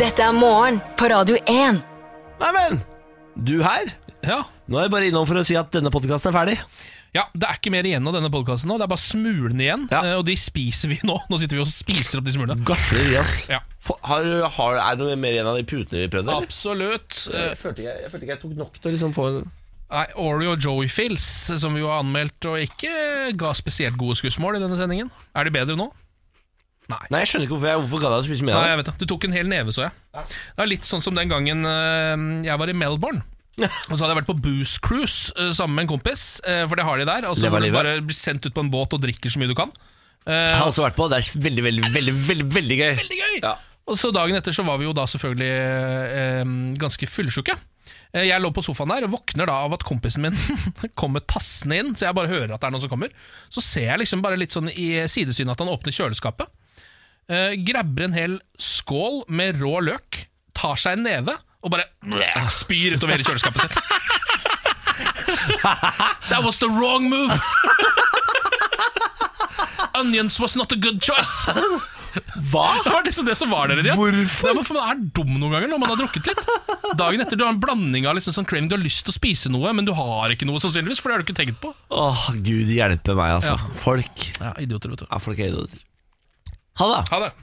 S4: Dette er Morgen på Radio 1.
S1: Neimen, du her?
S2: Ja.
S1: Nå er jeg bare innom for å si at denne podkasten er ferdig.
S2: ja, Det er ikke mer igjen av denne podkasten nå. Det er bare smulene igjen,
S1: Ja.
S2: eh, og de spiser vi nå. Nå sitter vi og spiser opp de smulene.
S1: Gafler i oss.
S2: Ja.
S1: For- Har, har, er det noe mer igjen av de putene vi prøvde? eller?
S2: Absolutt. Eh,
S1: Ah, Jeg følte, ikke, jeg følte ikke jeg tok nok til å liksom få en
S2: Nei, Oreo Joey Fills, som vi jo har anmeldt og ikke ga spesielt gode skussmål i denne sendingen. Er de bedre nå?
S1: Nei, jeg skjønner ikke hvorfor jeg hvorfor ga deg å spise mer
S2: Nei,
S1: av det.
S2: jeg vet det. Du tok en hel neve, så jeg. Det er litt sånn som den gangen eh, jeg var i Melbourne. Og så hadde jeg vært på Booze Cruise eh, sammen med en kompis, eh, for det har de der. Og så
S1: Det var
S2: hvor du
S1: livet.
S2: bare blir sendt ut på en båt og drikker så mye du kan. Eh,
S1: Jeg har også vært på, det er veldig, veldig, veldig, veldig, veldig gøy.
S2: veldig gøy!
S1: Ja.
S2: Og så dagen etter så var vi jo da selvfølgelig eh, ganske fullsjuke. Eh, Jeg lå på sofaen der og våkner da av at kompisen min kommer tassende inn. Så jeg bare hører at det er noen som kommer. Så ser jeg liksom bare litt sånn i sidesynet at han åpner kjøleskapet. Eh, grabber en hel skål med rå løk, tar seg en neve og bare bleh, spyr utover hele kjøleskapet sitt. That was the wrong move! Onions was not a good choice! Hva? Det var liksom det som var der i det. Hvorfor? men for man er dum noen ganger når man har drukket litt. Dagen etter du har en blanding av liksom sånn cream, du har lyst til å spise noe, men du har ikke noe sannsynligvis, for det har du ikke tenkt på.
S1: Åh, Gud hjelpe meg, altså.
S2: Ja.
S1: Folk
S2: Ja, idioter, vet du.
S1: Ja, folk er idioter. Ha det! da.
S2: Ha det.